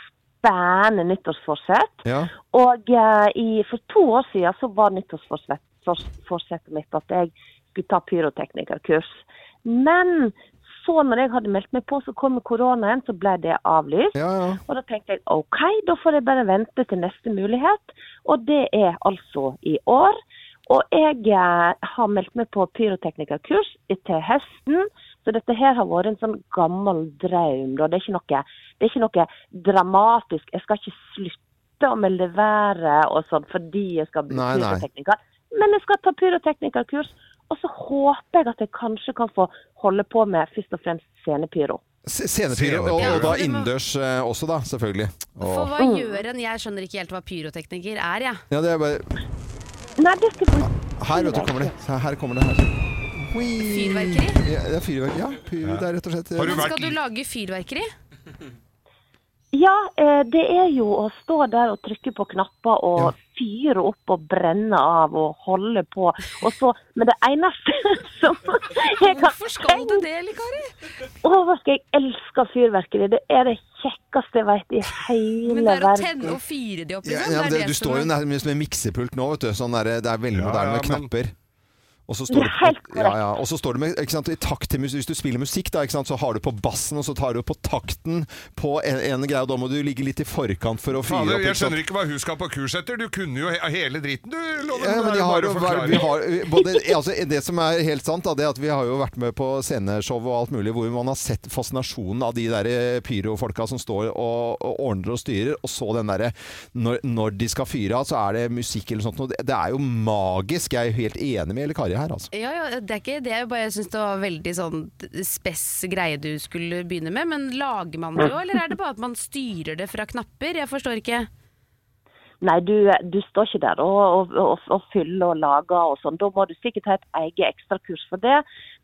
spennende nyttårsforsett.
ja.
Og eh, i, for to år siden så var nyttårsforsettet mitt at jeg skulle ta pyroteknikerkurs. Men så når jeg hadde meldt meg på, så kom koronaen, så ble det avlyst.
ja, ja.
Og da tenkte jeg OK, da får jeg bare vente til neste mulighet. Og det er altså i år. Og jeg eh, har meldt meg på pyroteknikerkurs til høsten. Så dette her har vært en sånn gammel drøm. Da. Det, er ikke noe, det er ikke noe dramatisk. Jeg skal ikke slutte å melde været og sånn fordi jeg skal bli
Nei, nei.
pyrotekniker. Men jeg skal ta pyroteknikerkurs. Og så håper jeg at jeg kanskje kan få holde på med først og fremst scenepyro.
Se- Scenepyro, og, og da innendørs eh, også, da, selvfølgelig.
For
Og,
hva gjør en Jeg skjønner ikke helt hva pyrotekniker er, jeg.
ja, det er bare,
Nei, det skal jeg få
her, vet du, kommer det. Se, Her kommer det. Her. Ui.
Fyrverkeri?
Ja, det er fyrverkeri. Ja, pyr, det er rett og slett
Har du
Men skal
vært-
du lage fyrverkeri?
Ja, eh, det er jo å stå der og trykke på knapper og
Ja.
fyre opp og brenne av og holde på. Og så, men det eneste som jeg kan
Hvorfor skal du det, eller, Kari?
Over skal jeg elsker fyrverkeri. Det er det kjekkeste jeg vet i
Men
hele
det er å
verden.
tenne og fyre de opp,
ja,
liksom.
ja, men
det
det,
er
Du
det
står jo
som er
nærmest med miksepult nå, vet du. Sånn der, det er veldig
Ja,
moderne
ja,
med
men-
knapper. Og så
Det er
står du
helt
på, ja, ja. Og så står du med, ikke sant, i takt til musikk. Hvis du spiller musikk, da, ikke sant, så har du på bassen, og så tar du på takten på en, en greie, og da må du ligge litt i forkant for å fyre
Fader,
opp.
jeg
ikke sant?
skjønner ikke hva hun skal på kurs etter. Du kunne jo he hele driten, du, Loven.
Ja, men de
Det er
har
bare
jo,
å
vært-
forklare.
vi har, både, altså, det som er helt sant, da, det er at vi har jo vært med på sceneshow og alt mulig, hvor man har sett fascinasjonen av de der eh, pyrofolka som står og, og ordner og styrer, og så den derre når, når de skal fyre av, så er det musikk eller sånt. noe. Det, det er jo magisk. Jeg er jo helt enig med Elle Kari her, altså.
Ja, ja, det er ikke det. Jeg bare syns det var veldig sånn spess greie du skulle begynne med. Men lager man det jo, eller er det bare at man styrer det fra knapper? Jeg forstår ikke.
Nei, du, du står ikke der og, og, og, og fyller og lager og sånn. Da må du sikkert ha et eget ekstrakurs for det.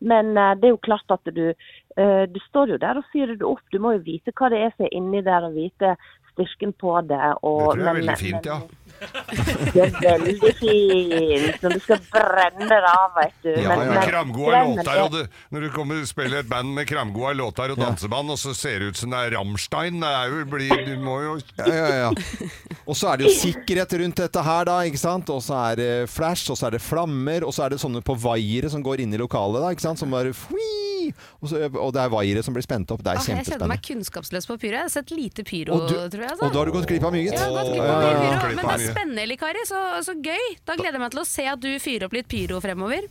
Men eh, det er jo klart at du, eh, du står jo der og fyrer det opp. Du må jo vite hva det er som er inni der, og vite styrken på det. Og,
Det tror jeg er
men-
veldig fint, ja.
Det er veldig fint når du skal brenne det av, vet du.
Ja, ja.
Med kramgode
brenner
låter, og
det-
det, når du kommer og spiller et band med kramgode låter og danseband, og så ser det ut som det er Rammstein, det er jo, blir, du må jo
Ja, ja, ja. Og så er det jo sikkerhet rundt dette her, da. ikke sant? Og så er det flash, og så er det flammer, og så er det sånne på vaiere som går inn i lokalet, da, ikke sant? som bare fui, Hi! Og, så, og det er vaiere som blir spent opp. Det er
Ah, jeg kjenner meg
kjempespennende.
kunnskapsløs på pyro. Jeg har sett lite pyro,
Og du-
tror jeg. altså.
og da har du gått glipp av mye, gitt.
Ja, gått glipp av
Ja,
mye
ja, ja.
pyro, men det er
Glipp av mye.
spennende, Eli Kari. Så, så gøy. Da gleder jeg meg til å se at du fyrer opp litt pyro fremover.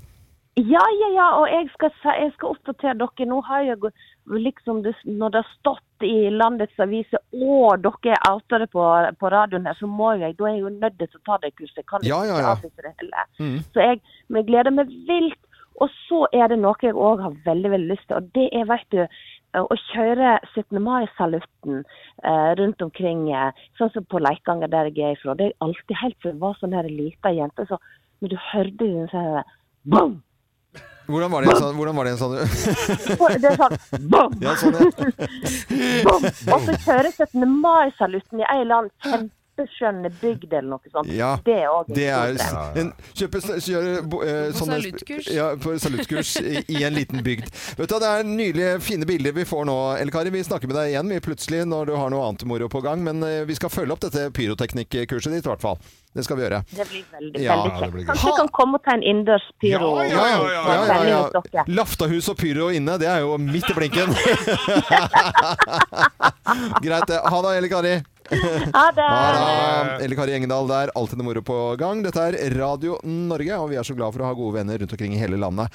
Ja, ja, ja, og jeg skal, si- jeg skal oppdatere dere. Nå har jeg gå- liksom det, Når det har stått i landets aviser og dere er outere på, på radioen her, så må jeg, da er jeg jo nødt til å ta det kurset. Jeg Kan
Ja, ja,
ikke
Mm. ja.
avlyse det heller. Så jeg, men jeg gleder meg vilt. Og så er det noe jeg òg har veldig veldig lyst til, og det er vet du, eh, å kjøre 17. mai-salutten eh, rundt omkring. Eh, sånn som på Leikanger, der jeg er ifra. Det er alltid helt fra jeg var sånn her lita jente. så Når du hørte den sånn Boom!
Hvordan var det en sånn? Hvordan var det en sånn?
For- Det er sånn bom,
Ja, sånn ja.
bom. Og så kjører 17. mai-salutten i ei eller annen kjempeskjønn bygd eller noe sånt.
Ja,
Det er òg
Det er en, kjøpe, kjøre, bo- eh,
På
sånne-
saluttkurs.
Ja, på saluttkurs i, i en liten bygd. Vet du, hva, Det er nydelige, fine bilder vi får nå, Elle Kari. Vi snakker med deg igjen vi plutselig når du har noe annet moro på gang. Men eh, vi skal følge opp dette pyroteknikkurset ditt, i hvert fall. Det skal vi gjøre.
Det blir veldig,
Ja,
veldig
det blir
kjekt.
gøy.
Kanskje jeg kan komme og ta en innendørs pyro?
Ja, ja, ja, ja, ja,
sending hos dere.
Laftahus og pyro inne, det er jo midt i blinken. Greit, det. Ha det, Elle Kari.
Ha det!
Ha det. Eller Kari Engedal der, alltid noe moro på gang. Dette er Radio Norge, og vi er så glad for å ha gode venner rundt omkring i hele landet.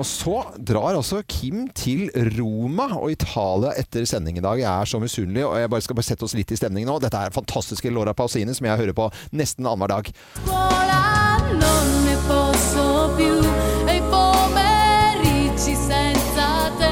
Og så drar altså Kim til Roma og Italia etter sending i dag. Jeg er så misunnelig, og jeg bare skal bare sette oss litt i stemning nå. Dette er fantastiske Laura Pausini, som jeg hører på nesten annenhver dag.
non ne posso più, e i pomeriggi senza te,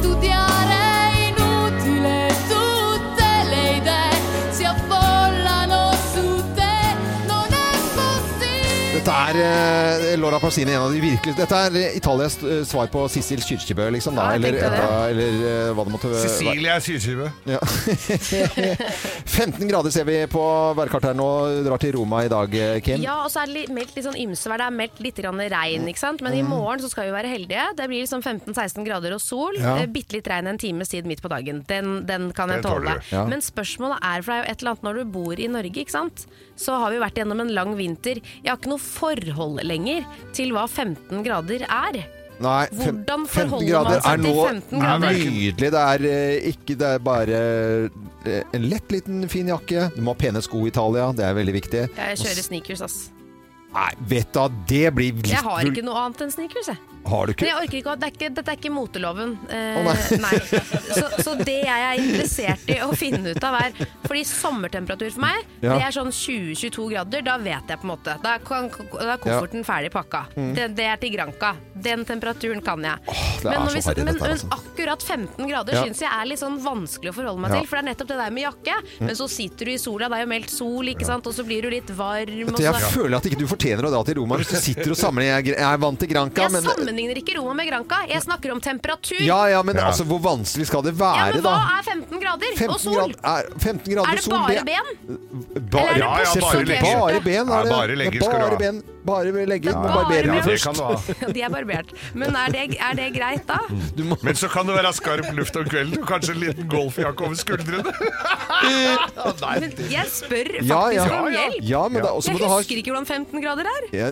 studiare è inutile, tutte le idee si affollano su te, non è possibile.
Dette er eh, Laura Pausini, en av de virkelig Dette er eh, Italias eh, svar på Sissel Kyrkjebø, liksom, da.
Ja, jeg
eller,
tenkte det.
eh, eller eh, hva det måtte være.
Cecilie er syvskive.
Ja. 15 grader ser vi på værkartet her nå. Drar til Roma i dag, eh, Kim.
Ja, og så er det litt, meldt litt sånn ymse vær. Det er meldt litt grann regn, ikke sant. Men i morgen så skal vi være heldige. Det blir liksom 15-16 grader og sol.
Ja.
Eh, Bitte litt regn en times tid midt på dagen. Den, den kan jeg
Den tåler
tåle.
du.
Ja.
Men spørsmålet er, for det er jo et eller annet når du bor i Norge, ikke sant. Så har vi jo vært gjennom en lang vinter. Jeg har ikke noe forhold lenger til hva 15 grader er.
Nei,
Hvordan
fem-
forholder
15 grader
man seg
er
til
nå
15 grader?
Nydelig. Det er eh, ikke Det er bare eh, en lett, liten, fin jakke. Du må ha pene sko i Italia. Det er veldig viktig.
Jeg kjører sneakers, ass.
Nei, vet du, det blir litt
Jeg har
vul-
ikke noe annet enn sneakers, jeg.
Har
Men
du ikke?
jeg orker ikke, å- det er ikke Dette er ikke moteloven. Eh,
Å, nei.
nei. Så, så det jeg er interessert i å finne ut av, er Fordi sommertemperatur for meg,
Ja.
det er sånn 20-22 grader. Da vet jeg på en måte. Da er, kan, da er kofferten ferdig pakka. Det, det er til Granca. Den temperaturen kan jeg.
Mm. det er
men,
så harry, dette her,
men
altså.
akkurat 15 grader
Ja.
syns jeg er litt sånn vanskelig å forholde meg
Ja. Mm.
til. For det er nettopp det der med jakke. Men så sitter du i sola, det er jo meldt sol, ikke sant. Og så blir du litt varm.
Vet
Og
du,
så
jeg føler at ikke du fortjener å dra til Roma hvis du sitter og sammenligner. Jeg er gre- Jeg er vant til Granca,
Jeg
men
sammenligner ikke Roma med Granca. Jeg snakker om temperatur.
ja, ja, men
Ja.
altså, hvor vanskelig skal det
Ja,
være,
men hva
da?
er 15 grader
15
og sol?
grad- er, 15 grader
er det
sol,
bare ben?
Bare,
Eller er det
ja, ja,
bare
selvfølgelig.
legger?
Bare ben.
Ja,
Er det.
bare legger skal du
bare
ha.
ben. Bare legger. Du må
bare
barbere
ben.
deg
Ja,
Det
først.
kan du ha.
De er barbert. Men er det, er det greit da?
Du må
Men så kan det være skarp luft om kvelden, og kanskje en liten golfjakke over skuldrene. Ja, Nei,
Men jeg spør faktisk
Ja, ja.
om hjelp.
Ja, men da, også
Jeg
må du ha
husker ikke hvordan 15 grader er.
Ja,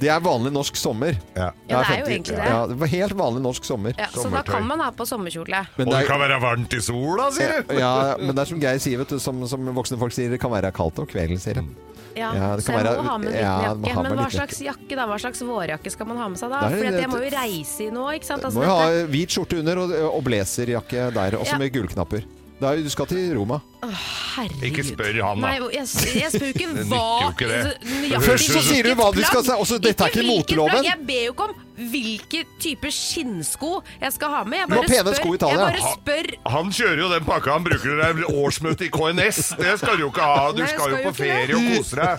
Det er vanlig norsk sommer.
Ja.
Ja, det er jo
50
egentlig det.
Ja, det var helt vanlig norsk sommer.
Ja, så da
Sommertøy.
kan man ha på sommerkjole.
Men
Og
det
det
er,
kan være varmt i sola, sier du.
ja, men det er som Geir sier, vet du, som, som voksne folk sier, det kan være kaldt om kvelden, sier
Mm.
de.
Ja,
Ja, det
så
kan
jeg
være-
må ha med en
ja,
liten
du må
jakke.
ha med
Men hva
liten
slags jakke da? Hva slags vårjakke skal man ha med seg da?
Det er
For
det-
jeg må jo reise i nå, ikke sant?
Du må
Altså,
jo ha
dette-
hvit skjorte under og, og blazerjakke der, også
Ja.
med gullknapper. Det er jo- Du skal til Roma.
Herregud.
Ikke spør han, da.
Nei, jeg, jeg spør jo ikke
Det
hva altså,
nytter jo ikke det.
nøyaktig
Først så
sier du
hvilket
hva du skal
plagg.
se- også, dette er ikke
hvilket
moteloven.
plagg. Jeg ber jo ikke om hvilke type skinnsko jeg skal ha med. Jeg
Du har
bare
pene
spør,
sko i Italia.
Jeg bare spør
Han kjører jo den pakka han bruker når det er årsmøte i KNS. Det skal du jo ikke ha. Du
Nei, jeg
skal jo
skal
på
jo ikke
ferie og kose deg.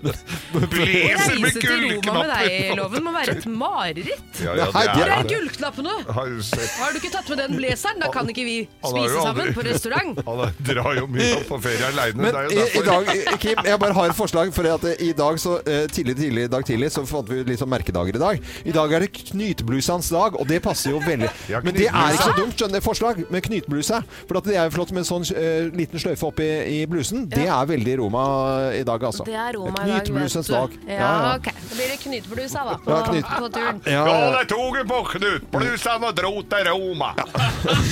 Leser
Reise
med
til Roma med deg i
gullknapper!
loven må være et mareritt.
Ja, ja,
Hvor
det
er
er det.
gullknappene?
Har du sett?
Har du ikke tatt med den blazeren? Da kan ikke vi
Han har jo
spise sammen
aldri-
på restaurant.
Han er- drar jo mye opp på ferie aleine.
Men i, i dag, Kim, jeg bare har et forslag. For at eh, i dag så, eh, tidlig, tidlig, i dag tidlig så fant vi ut litt sånn merkedager i dag. I dag er det knytblusans dag, og det passer jo veldig.
Ja,
Men det er ikke så
knytblusa.
dumt, skjønner du, forslag med knytbluse. For at det er jo flott med en sånn eh, liten sløyfe oppi i blusen. Det er veldig Roma i dag, altså.
Det er Roma i dag,
Knytblusens
vet
dag.
du.
Ja, ja.
ok. Da blir det knytblusa, da, på,
Ja, knyt-
på turen.
Ja,
Ja,
ja.
det toget på knutblusen og dro til Roma!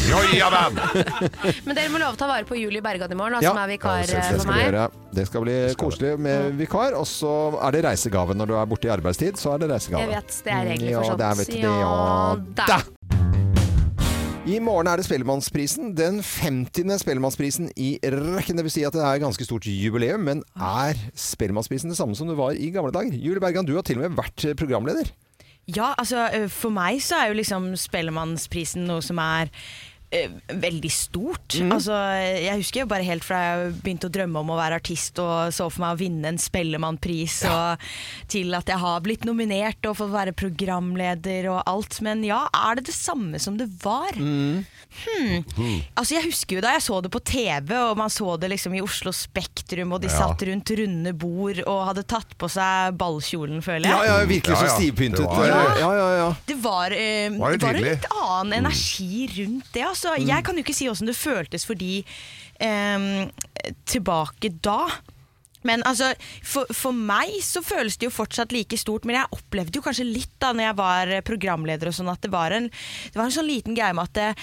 Jojavenn!
Men dere må love å ta vare på Julie Bergan i morgen, da,
Ja.
som er
Ja,
vikar
det
eh,
skal
for
vi
meg.
gjøre. Det skal bli koselig med vikar. Og så er det reisegave. Når du er borte i arbeidstid, så er det reisegave.
Jeg vet, det er regler for
Mm, ja,
sånt.
det er vet du det,
Ja, da.
ja da. I morgen er det Spellemannsprisen. Den 50. Spellemannsprisen i rekken. Det vil si at det er et ganske stort jubileum. Men
Ah.
er Spellemannsprisen det samme som det var i gamle dager? Julie Bergan, du har til og med vært programleder.
Ja, altså eh, for meg så er jo liksom Spellemannsprisen noe som er eh, veldig stort. Altså, jeg husker jo bare helt fra jeg begynte å drømme om å være artist og så for meg å vinne en Spellemannpris, og til at jeg har blitt nominert og fått være programleder og alt. Men ja, er det det samme som det var? Hmm. Altså Jeg husker jo da jeg så det på TV, og man så det liksom i Oslo Spektrum, og de
Ja.
satt rundt runde bord og hadde tatt på seg ballkjolen, føler jeg.
virkelig
Ja,
så
ja.
stivpyntet.
Det var-
ja, ja, ja.
Det var,
Var
eh,
det
det var en
tydelig?
litt
Mm.
annen energi rundt det. Altså. Jeg kan jo ikke si åssen det føltes for de eh, tilbake da. Men altså, for, for meg så føles det jo fortsatt like stort, men jeg opplevde jo kanskje litt da når jeg var programleder og sånn, at det var en, det var en sånn liten greie med at eh,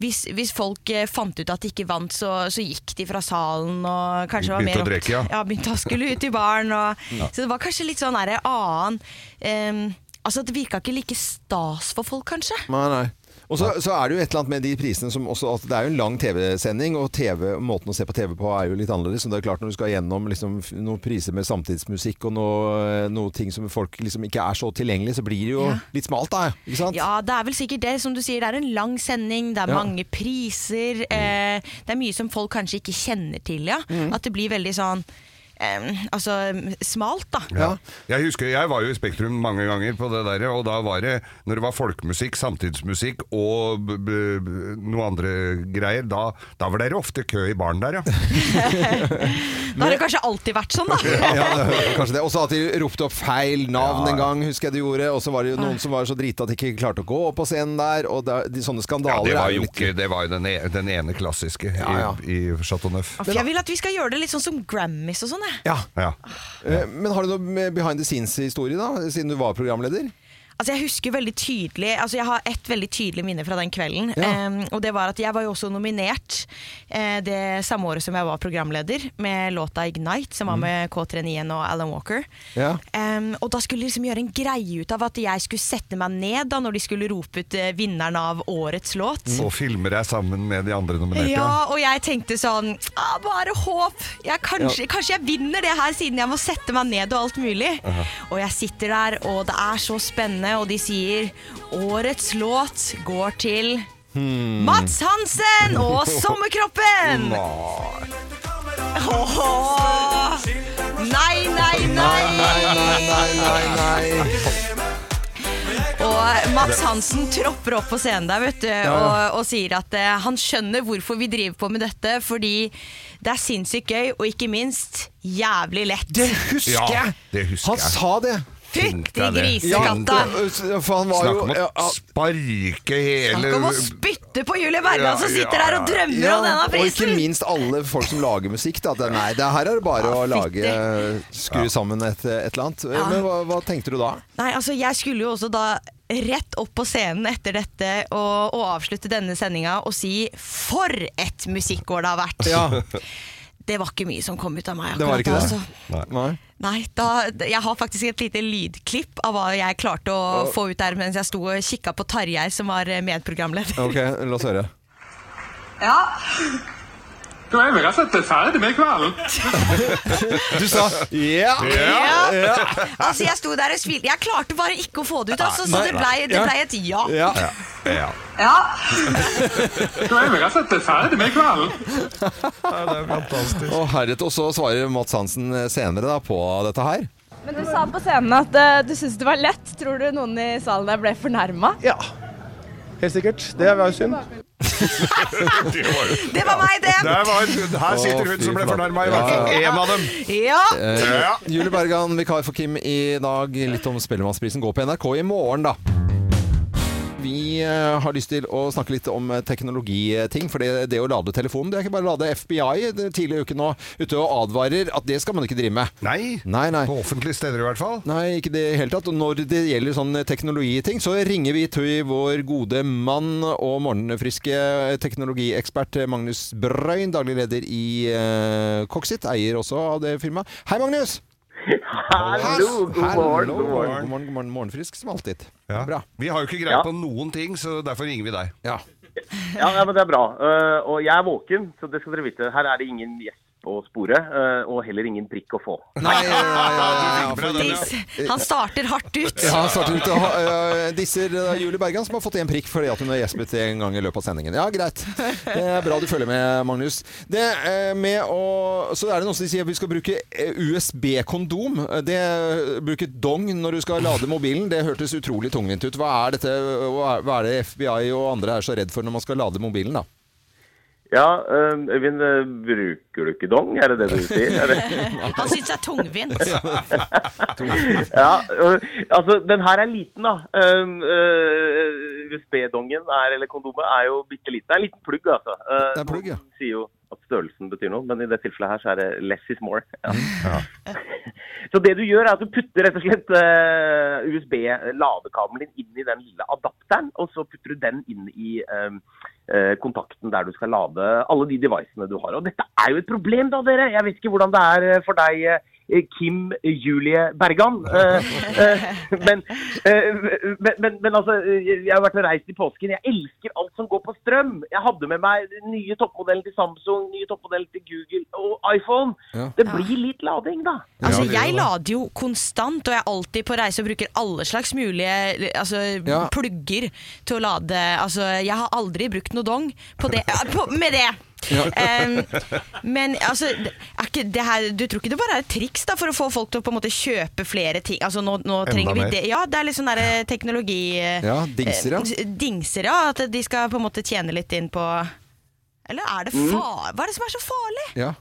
hvis, hvis folk eh, fant ut at de ikke vant, så, så gikk de fra salen og kanskje var
Begynte
mer
å drikke, ja.
ja, begynte å skulle ut i baren. Og,
Ja.
Så det var kanskje litt sånn der, annen em, Altså Det virka ikke like stas for folk, kanskje.
Nei, nei. Og så, så er det jo et eller annet med de prisene som også at Det er jo en lang TV-sending, og TV, måten å se på TV på er jo litt annerledes. Så det er klart når du skal gjennom liksom, f- noen priser med samtidsmusikk og noe- noen ting som folk liksom ikke er så tilgjengelig, så blir det jo
Ja.
litt smalt, da. Ikke sant?
Ja, det er vel sikkert det. Som du sier, det er en lang sending, det er
Ja. Mm.
mange priser. Eh, det er mye som folk kanskje ikke kjenner til, ja.
Mm.
At det blir veldig sånn em, Altså smalt, da.
Ja. Jeg husker, jeg var jo i Spektrum mange ganger på det der, og da var det, når det var folkemusikk, samtidsmusikk og b b b noe andre greier, da, da var dere ofte kø i baren der, ja.
Da har det kanskje alltid vært sånn, da.
ja, det- kanskje det. Og så at de ropte opp feil navn
Ja.
en gang, husker jeg de gjorde. Og så var det jo noen som var så drita at de ikke klarte å gå opp på scenen der. Og det, er- de, sånne
Ja,
skandaler
det var
er jo
jo
litt
ikke, det var jo den, e den ene klassiske i, i Chateau Neuf.
For Jeg vil at vi skal gjøre det litt sånn som Grammys og sånn, jeg.
Ja.
Eh,
Men har du noe med behind the scenes-historie, da? Siden du var programleder?
Altså Jeg husker veldig tydelig Altså jeg har ett veldig tydelig minne fra den kvelden.
Ja.
Em, og det var at Jeg var jo også nominert eh, det samme året som jeg var programleder, med låta 'Ignite',
Mm.
som var med K39 og Alan Walker.
Ja.
Em, og da skulle de liksom gjøre en greie ut av at jeg skulle sette meg ned da når de skulle rope ut eh, vinneren av årets låt.
Og filmer deg sammen med de andre nominerte.
Ja, og jeg tenkte sånn ah, Bare håp! Jeg, kanskje,
Ja.
kanskje jeg vinner det her, siden jeg må sette meg ned og alt mulig.
Aha.
Og jeg sitter der, og det er så spennende, og de sier Årets låt går til
Hmm.
Mats Hansen og Sommerkroppen! Åh. Nei, nei, nei! Og Mats Hansen tropper opp på scenen der, vet du,
Ja.
og, og sier at eh, han skjønner hvorfor vi driver på med dette, fordi det er sinnssykt gøy, og ikke minst jævlig lett. Det
husker Ja, jeg.
Det husker
Han
jeg.
sa det!
Fytti
Tenkte jeg det.
grisekatta!
Ja, for han var
Snakk
jo
om å sparke hele
Snakk om å spytte på Julie Bergan som sitter der og drømmer
Ja,
om denne
Og ikke
prisen!
minst alle folk som lager musikk. Da. Det, nei, det her er det bare å lage Skru sammen et, et eller annet.
Ja.
Men hva, hva tenkte du da?
Nei, altså jeg skulle jo også da rett opp på scenen etter dette og, og avslutte denne sendinga og si 'for et musikkår det har vært'. Det var ikke mye som kom ut av meg.
Det var
akkurat
ikke
da,
det?
altså.
Nei.
Nei, da, jeg har faktisk et lite lydklipp av hva jeg klarte å
Ja.
få ut der mens jeg sto og kikka på Tarjei, som var eh, medprogramleder.
Ok, la oss høre.
Ja.
Da er vi rett og slett ferdig med kvelden.
Du sa ja!
Ja. Altså, jeg sto der og smilte. Jeg klarte bare ikke å få det ut, altså, så
Nei,
det
nei.
blei det
Ja.
ble et ja.
Ja.
Ja.
Ja. Nå er vi rett og slett ferdig med kvelden.
det er fantastisk.
Og heretter så svarer Mats Hansen senere da på dette her.
Men du sa på scenen at eh, du syntes det var lett. Tror du noen i salen der ble fornærma?
Ja. Helt sikkert. Det var jo synd.
Det var meg, det!
Der var hun. Her sitter hun som ble fornærma, i hvert fall. En av dem.
Ja.
Eh, Julie Bergan, vikar for Kim i dag. Litt om Spellemannsprisen. Gå på NRK i morgen, da. Vi eh, har lyst til å snakke litt om eh, teknologiting. For det, det å lade telefonen Det er ikke bare å lade FBI det er tidlig i uken nå ute og advarer at det skal man ikke drive med.
Nei.
nei, På
offentlige steder i hvert fall.
Nei, ikke det i hele tatt. Og når det gjelder sånn teknologiting, så ringer vi til vår gode mann og morgenfriske eh, teknologiekspert eh, Magnus Brøyn, daglig leder i eh, Coxit, eier også av det firmaet. Hei, Magnus!
Hallo, god
Hallo,
morgen.
God morgen, god morgen, god morgen. Morgenfrisk som alltid. Bra.
Vi har jo ikke greie
Ja.
på noen ting, så derfor ringer vi deg.
Ja.
Ja, nei, men det er bra. Eh, og jeg er våken, så det skal dere vite. Her er det ingen gjesp å spore, eh, og heller ingen prikk å få.
Han starter hardt ut.
Ja, han starter ut og ha- eh, disser eh, Julie Bergan, som har fått én prikk fordi at hun har gjespet en gang i løpet av sendingen. Ja, greit. Det er bra du følger med, Magnus. Det eh, med å Så er det noen som sier at vi skal bruke eh, USB-kondom. Eh, Det Bruke dong når du skal lade mobilen. Det hørtes utrolig tungvint ut. Hva er, dette, hva er- hva er det FBI og andre er så redd for når man skal lade mobilen, da?
Ja, eh, Øyvind, eh, bruker du ikke dong? Er det det du sier? Er det...
Han syns det er tungvint.
ja, øh, altså den her er liten da. Um, øh, USB-dongen er, eller kondomet er jo bitte liten. Det er en liten plugg altså. Uh,
Det er plugg, ja.
Noen sier jo at størrelsen betyr noe, men i det tilfellet her så er det less is more. Ja.
Mm.
så det du gjør er at du putter rett og slett øh, USB-ladekabelen din inn i den lille adapteren, og så putter du den inn i øhm, øh, kontakten der du skal lade alle de devicene du har. Og dette er jo et problem da, dere. Jeg vet ikke hvordan det er øh, for deg, øh, Kim Julie Bergan. Eh, eh, men, eh, men, men, men altså, jeg har vært og reist i påsken. Jeg elsker alt som går på strøm. Jeg hadde med meg den nye toppmodellen til Samsung, nye toppmodellen til Google og iPhone. Det blir litt lading, da.
Altså, jeg lader jo konstant, og jeg er alltid på reise og bruker alle slags mulige altså,
Ja.
plugger til å lade. Altså, jeg har aldri brukt noe dong på det, eh, på, med det. Em, men altså, er ikke det her, du tror ikke det bare er et triks da, for å få folk til å på en måte kjøpe flere ting? Altså, nå, nå
Enda
trenger vi
mer.
det. Ja, det er litt sånn der eh, teknologi... eh,
Ja, dingser, ja.
eh, Dingser, ja. At de skal på en måte tjene litt inn på... Eller er det
Mm.
far... Hva er det som er så farlig?
Ja.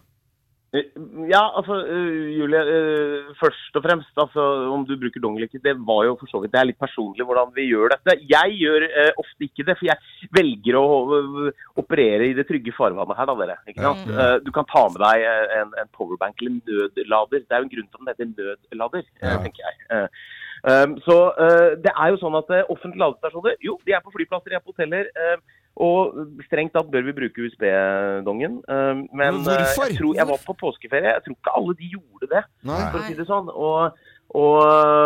Eh, Ja, altså, eh, Julie, eh, først og fremst, altså, om du bruker dong eller ikke, det var jo for så vidt, det er litt personlig hvordan vi gjør dette. Jeg gjør eh, ofte ikke det, for jeg velger å eh, operere i det trygge farvannet her, da, dere. Ikke sant?
Mm.
Eh, Du kan ta med deg eh, en, en powerbank eller en nødlader. Det er jo en grunn til at den heter nødlader, eh,
Ja.
tenker jeg. Eh, Um, så eh, det er jo sånn at eh, offentlige ladestasjoner, jo, de er på flyplasser, de er på hoteller. eh, og strengt tatt bør vi bruke USB-dongen. eh,
Men
men eh,
hvorfor?
jeg tror jeg var på påskeferie. Jeg tror ikke alle de gjorde det,
Nei.
for å si det sånn. Og, og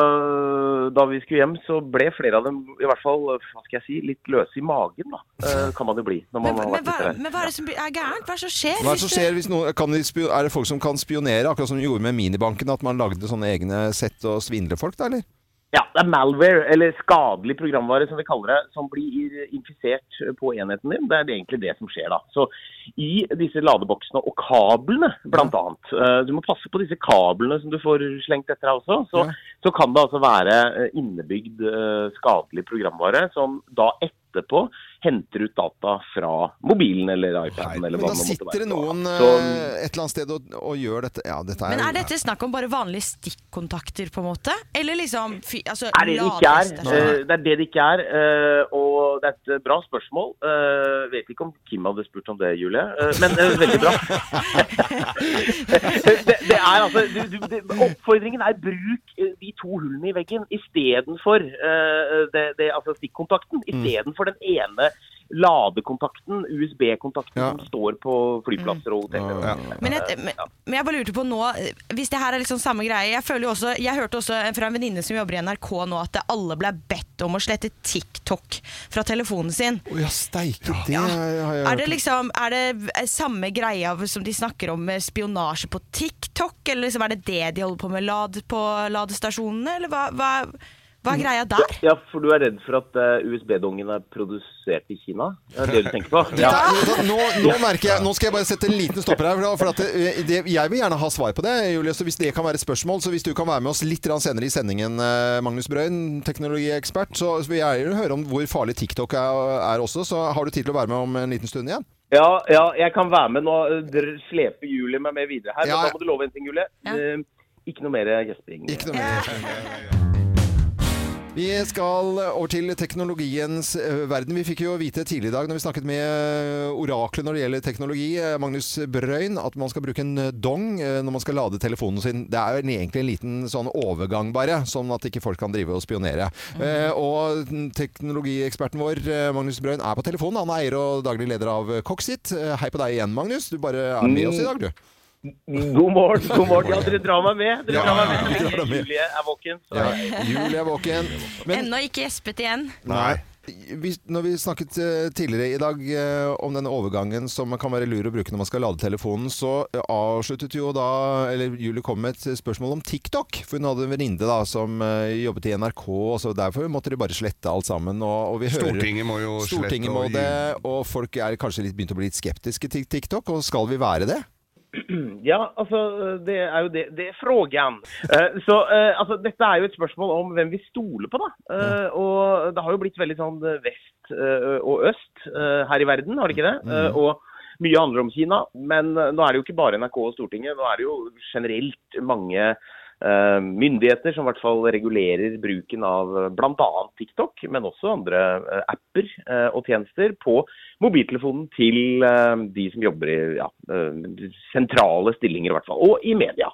eh, da vi skulle hjem, så ble flere av dem i hvert fall eh, hva skal jeg si, litt løse i magen, da. eh, kan man jo bli når man har
Men
vært ute
hva,
der.
men hva er det som blir- er gærent? Hva er det som skjer?
Hva er det som
hvis
skjer
du-
hvis noen, kan de spio- Er det folk som kan spionere, akkurat som de gjorde med minibanken? At man lagde sånne egne sett og svindle folk, da, eller?
Ja, det er malware, eller skadelig programvare som vi kaller det, som blir infisert på enheten din. Det er egentlig det som skjer da. Så i disse ladeboksene og kablene, blant annet, eh, du må passe på disse kablene som du får slengt etter deg også, så, så kan det altså være eh, innebygd eh, skadelig programvare som da etterpå henter ut data fra mobilen eller iPaden eller
Men
hva
da
det måtte
sitter det
være.
noen
Så-
eh, et eller annet sted og, og gjør dette. Ja, dette er,
Men er dette snakk om bare vanlige stikkontakter, på en måte? Eller liksom fy, altså,
er det det ikke er.
ladestasjon?
Eh, Det er det det ikke er. eh, Og det er et bra spørsmål. Eh, Vet ikke om Kim hadde spurt om det, Julie, eh, men eh, veldig bra. det, det er altså du, du, det, Oppfordringen er bruk eh, de to hullene i veggen istedenfor uh, det, det, altså stikkontakten. Istedenfor den ene ladekontakten, USB-kontakten, som står på flyplasser og hoteller.
Men jeg, men, men jeg bare lurte på nå, eh, hvis det her er liksom samme greie Jeg føler jo også, jeg hørte også fra en venninne som jobber i NRK nå, at alle ble bedt om å slette TikTok fra telefonen sin.
Å ja, steike, det har jeg
Er det
hørt.
liksom, er det eh, samme greia som de snakker om med spionasje på TikTok? Eller liksom, er det det de holder på med lad på ladestasjonene? Eller hva, hva, Hva er greia der?
Ja, for du er redd for at eh, USB-dongen er produsert i Kina? Det er det du tenker på?
Ja. Nå, nå merker jeg, nå skal jeg bare sette en liten stopper her. For at det, det, jeg vil gjerne ha svar på det, Julie. Så hvis det kan være et spørsmål, så hvis du kan være med oss litt grann senere i sendingen, eh, Magnus Brøyn, teknologiekspert, så vil jeg gjerne høre om hvor farlig TikTok er, er også. Så har du tid til å være med om en liten stund igjen?
Ja, ja, jeg kan være med nå. Dere sleper Julie meg med videre her.
Ja.
Men da må du love en ting, Julie. Eh, Ikke noe mer gjesping.
Ikke noe mer. Vi skal over til teknologiens eh, verden. Vi fikk jo vite tidlig i dag når vi snakket med eh, oraklet når det gjelder teknologi, eh, Magnus Brøyn, at man skal bruke en eh, dong eh, når man skal lade telefonen sin. Det er jo en- egentlig en liten sånn overgang bare, sånn at ikke folk kan drive og spionere. Eh, Og den teknologieksperten vår, eh, Magnus Brøyn, er på telefonen. Han er eier og daglig leder av eh, Coxit. Eh, Hei på deg igjen, Magnus. Du bare er med oss i dag, du.
Mm. God morgen. God morgen. Ja, dere drar meg med. Dere
Ja,
drar meg
vi
med.
drar deg med.
Julie er våken. Så.
Ja, Julie er våken. Men
Ennå ikke gjespet igjen.
Nei. Vi, når vi snakket eh, tidligere i dag eh, om denne overgangen som kan være lur å bruke når man skal lade telefonen, så eh, avsluttet jo da, eller Julie kom med et spørsmål om TikTok. For hun hadde en venninne da som eh, jobbet i NRK, og så derfor måtte de bare slette alt sammen. Og, og vi hører,
Stortinget må jo slette
Stortinget må
og gi-
det, og folk er kanskje litt begynt å bli litt skeptiske til TikTok, og skal vi være det?
Ja, altså, det er jo det, det er frågan. Eh, Så eh, altså, dette er jo et spørsmål om hvem vi stoler på, da. Eh, Og det har jo blitt veldig sånn eh, vest eh, og øst eh, her i verden, har det ikke det?
Mm.
Eh, Og mye handler om Kina, men eh, nå er det jo ikke bare NRK og Stortinget. Nå er det jo generelt mange eh, myndigheter som i hvert fall regulerer bruken av bl.a. TikTok, men også andre eh, apper eh, og tjenester på mobiltelefonen til eh, de som jobber i ja, eh, sentrale stillinger, i hvert fall. Og i media.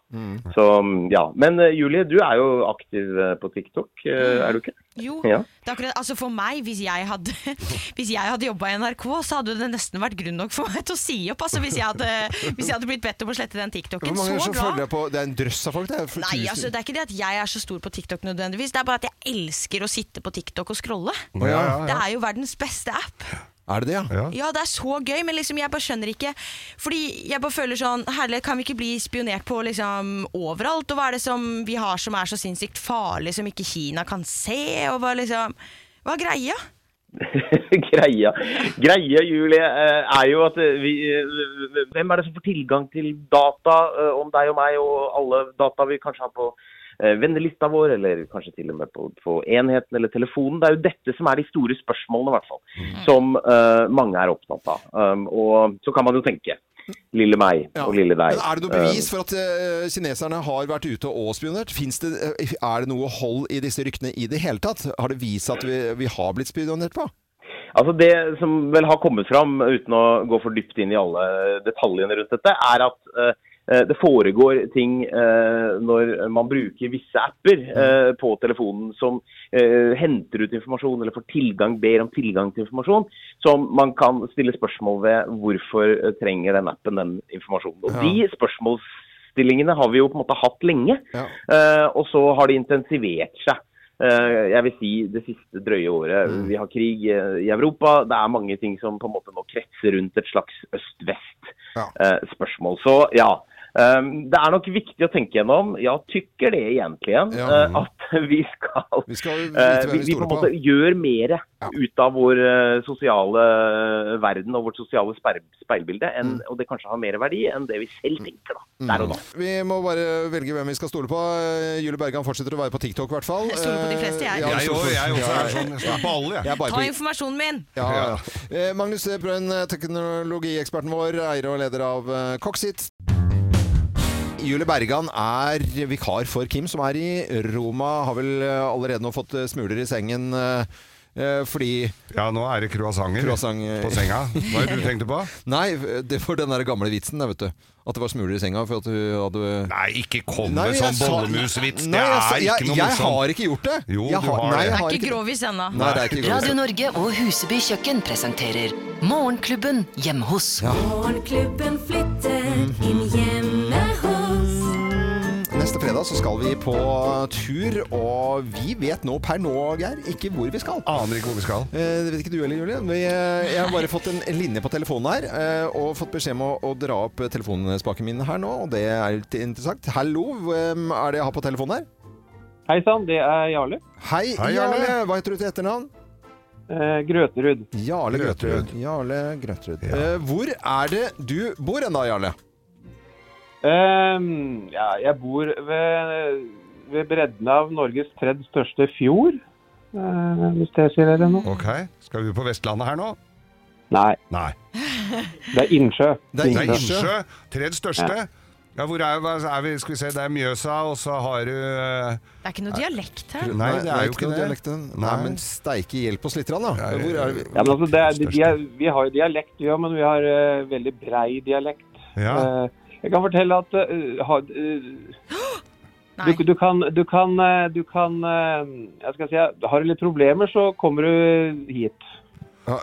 Så ja. Men eh, Julie, du er jo aktiv eh, på TikTok, eh, er du ikke?
Jo,
Ja.
det er akkurat, altså for meg, hvis jeg hadde, hvis jeg hadde jobba i NRK, så hadde det nesten vært grunn nok for meg til å si opp. Altså, hvis, jeg hadde, hvis jeg hadde blitt bedt om å slette den
Hvor
TikToken.
mange er det
Så
som
glad.
følger deg på? Det er en drøss av folk, det. er for
Nei,
tusen.
altså Det er ikke det at jeg er så stor på TikTok nødvendigvis. Det er bare at jeg elsker å sitte på TikTok og scrolle.
Å, ja, ja, ja.
Det er jo verdens beste app.
Er det det, ja?
Ja, det er så gøy, men liksom jeg bare skjønner ikke Fordi jeg bare føler sånn Herlighet, kan vi ikke bli spionert på liksom overalt? Og hva er det som vi har som er så sinnssykt farlig, som ikke Kina kan se? Og hva liksom Hva er greia?
Greia, greia Julie, eh, er jo at eh, vi, eh, hvem er det som får tilgang til data eh, om deg og meg, og alle data vi kanskje har på eh, vennelista vår, eller kanskje til og med på, på enheten eller telefonen. Det er jo dette som er de store spørsmålene, i hvert fall,
Mm.
som eh, mange er opptatt av. Um, og så kan man jo tenke, lille meg og lille deg.
Men er det noe bevis for at eh, kineserne har vært ute og spionert? Finnes Det, eh, er det noe hold i disse ryktene i det hele tatt? Har det vist seg at vi, vi har blitt spionert på?
Altså Det som vel har kommet fram, uten å gå for dypt inn i alle detaljene rundt dette, er at eh, det foregår ting eh, når man bruker visse apper eh, på telefonen som eh, henter ut informasjon eller får tilgang, ber om tilgang til informasjon, som man kan stille spørsmål ved hvorfor eh, trenger den appen den informasjonen. Og
Ja.
De spørsmålsstillingene har vi jo på en måte hatt lenge, eh, og så har de intensivert seg. Eh, Jeg vil si det siste drøye året.
Mm.
Vi har krig eh, i Europa. Det er mange ting som på en måte nå kretser rundt et slags øst-vest-spørsmål. Så ja. eh, Det er nok viktig å tenke gjennom. Ja, tykker det egentlig igjen?
Ja.
eh, At vi skal Vi,
hvem vi
Eh, vi, på
stoler
en
på.
måte gjør mer ut av vår eh, sosiale eh, verden og vårt sosiale sper- speilbilde,
Mm.
enn, og det kanskje har mer verdi enn det vi selv tenker da, der og da.
Vi må bare velge hvem vi skal stole på. Eh, Julie Bergan fortsetter å være på TikTok, i hvert fall.
Jeg stoler på de fleste,
Eh,
jeg.
ja,
Jeg
stoler på-
også- jeg også er
Ja,
sånn. Jeg stoler på alle, jeg.
er bare
Ta
på-
informasjonen min!
ja, ja. Eh, Magnus Brønn, teknologieksperten vår, eier og leder av eh, Coxit. Julie Bergan er vikar for Kim, som er i Roma. Har vel eh, allerede nå fått eh, smuler i sengen eh, eh, fordi
Ja, nå er det croissanter på senga. Hva er det du tenkte på?
Nei, det var den der gamle vitsen, der, vet du. At det var smuler i senga for at du hadde eh,
Nei, ikke kom
Nei,
med
jeg
sånn
sa-
bollemusvits. Det
Nei, jeg sa-
er
jeg-
ikke noe
jeg
morsomt.
har ikke gjort det.
Jo,
Jeg har-
du har
nei,
det.
jeg
Det
har
er ikke grovis ennå.
Nei, det er ikke grovis.
Radio Norge og Huseby kjøkken presenterer Morgenklubben hjemme hos.
Morgenklubben flytter inn hjemme hos.
Neste fredag så skal vi på tur, og vi vet nå per nå, Geir, ikke hvor vi skal.
Aner ikke hvor vi skal.
Det vet ikke du heller, Julie. Vi, eh, jeg har bare fått en linje på telefonen her, eh, og fått beskjed om å, å dra opp telefonspaken min her nå, og det er litt interessant. Hallo, hvem er det jeg har på telefonen her?
Hei sann, det er Jarle.
Hei,
Hei,
Jarle.
Jarle.
Hva heter du til etternavn?
eh, Grøterud.
Jarle Grøterud. Jarle Grøterud. Eh, hvor er det du bor ennå, Jarle?
Ehm, ja, jeg bor ved, ved bredden av Norges tredje største fjord, eh, hvis det sier dere noe.
Ok, Skal vi på Vestlandet her nå?
Nei. Det er innsjø.
Det er Innsjø. Tredje største. Ja, hvor er, hva er vi? Skal vi se, det er Mjøsa, og så har du eh,
Det er ikke noe dialekt her.
Nei, det er jo ikke
noe
det.
dialekt, den. Nei, men steike hjelp oss litt, grann, da. Hvor er vi?
Ja, men altså, det er, de, de er, vi har jo dialekt, vi òg, men vi har eh, veldig brei dialekt.
Ja.
Eh, jeg kan fortelle at eh, har, eh, du, du kan, du kan, eh, du kan eh, jeg skal si, eh, Har du litt problemer, så kommer du hit.
Å,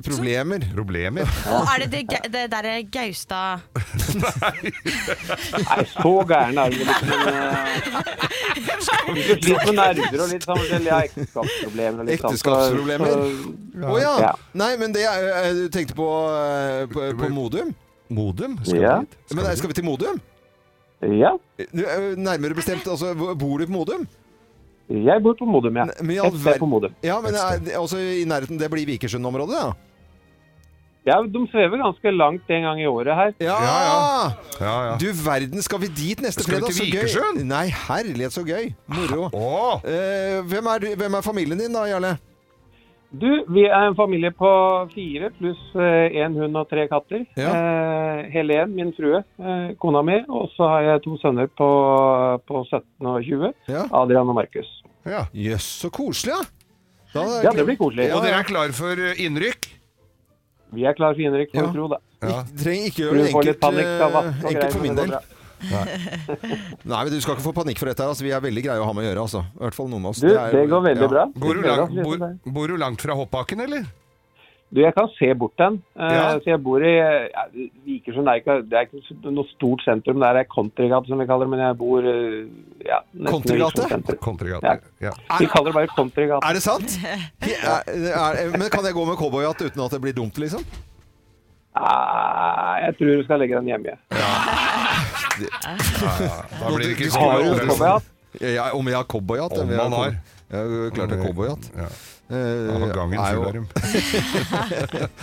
problemer.
Problemer.
Og er det det, ga- det derre Gaustad
Nei, så gæren er du vel ikke, men eh, Litt litt med nerver og litt sånn forskjellig. Ja, ekteskapsproblemer og litt sånn.
Ekteskapsproblemer?
Så-
Å ja.
Ja.
Nei, men det er, eh, Du tenkte på, eh, på, på Modum?
Modum?
Skal vi Ja. dit?
men, nei, skal vi til Modum?
Ja.
Du, eh, Nærmere bestemt, altså, hvor- bor du på Modum?
Jeg bor på Modum, ja.
Men i all
Et sted
verden-
på Modum.
Ja, men er, det- altså, i nærheten, det blir Vikersund-området, da?
Ja, de svever ganske langt en gang i året her.
Ja, ja.
ja,
Du verden, skal vi dit neste
Skal vi
fredag?
til
Så gøy.
Vikersund?
Nei, herlighet, så gøy. Moro. Eh, hvem, er, du- hvem er familien din da, Jarle?
Du, vi er en familie på fire pluss eh, en hund og tre katter. Eh, Helen, min frue, eh, kona mi, og så har jeg to sønner på, på 17 og 20. Adrian og Markus.
Ja.
Jøss, så koselig, da. da.
Ja, det blir koselig.
Og dere er klar for eh, innrykk?
Vi er klar for innrykk, får
Ja.
du tro, da.
Ja.
Ik- Trenger ikke gjøre
Du
det
får litt
enkelt,
panikk av vatt
eh,
og
enkelt
greier,
for min
men
del.
det går
Nei. Nei, men Du skal ikke få panikk for dette. her, altså. Vi er veldig greie å ha med å gjøre. Altså. I hvert fall noen av oss.
Du, det går veldig bra.
Bor du,
Gleder
langt,
oss,
bor,
liksom.
bor du langt fra hoppbakken, eller?
Du, jeg kan se bort den. Eh,
Ja.
Så jeg bor i ja, Vikersund er ikke, det er ikke noe stort sentrum. Det er ei countrygate, som vi kaller det, men jeg bor eh, ja, nesten i Vikersund sentrum.
Countrygate. Ja.
Ah,
Vi kaller det bare countrygate.
Er det sant? Er, er, men kan jeg gå med cowboyhatt uten at det blir dumt, liksom?
Nei, Ah, jeg tror du skal legge den hjemme. jeg.
ja. Da blir det ikke
Du- du
så mye
har jo
overraskelse.
cowboyhatt. Ja, om jeg har cowboyhatt? ja,
Om
vi
man har.
Ja, klart det er cowboyhatt.
Ja.
Eh,
har gangen
er jo-
full, Arum.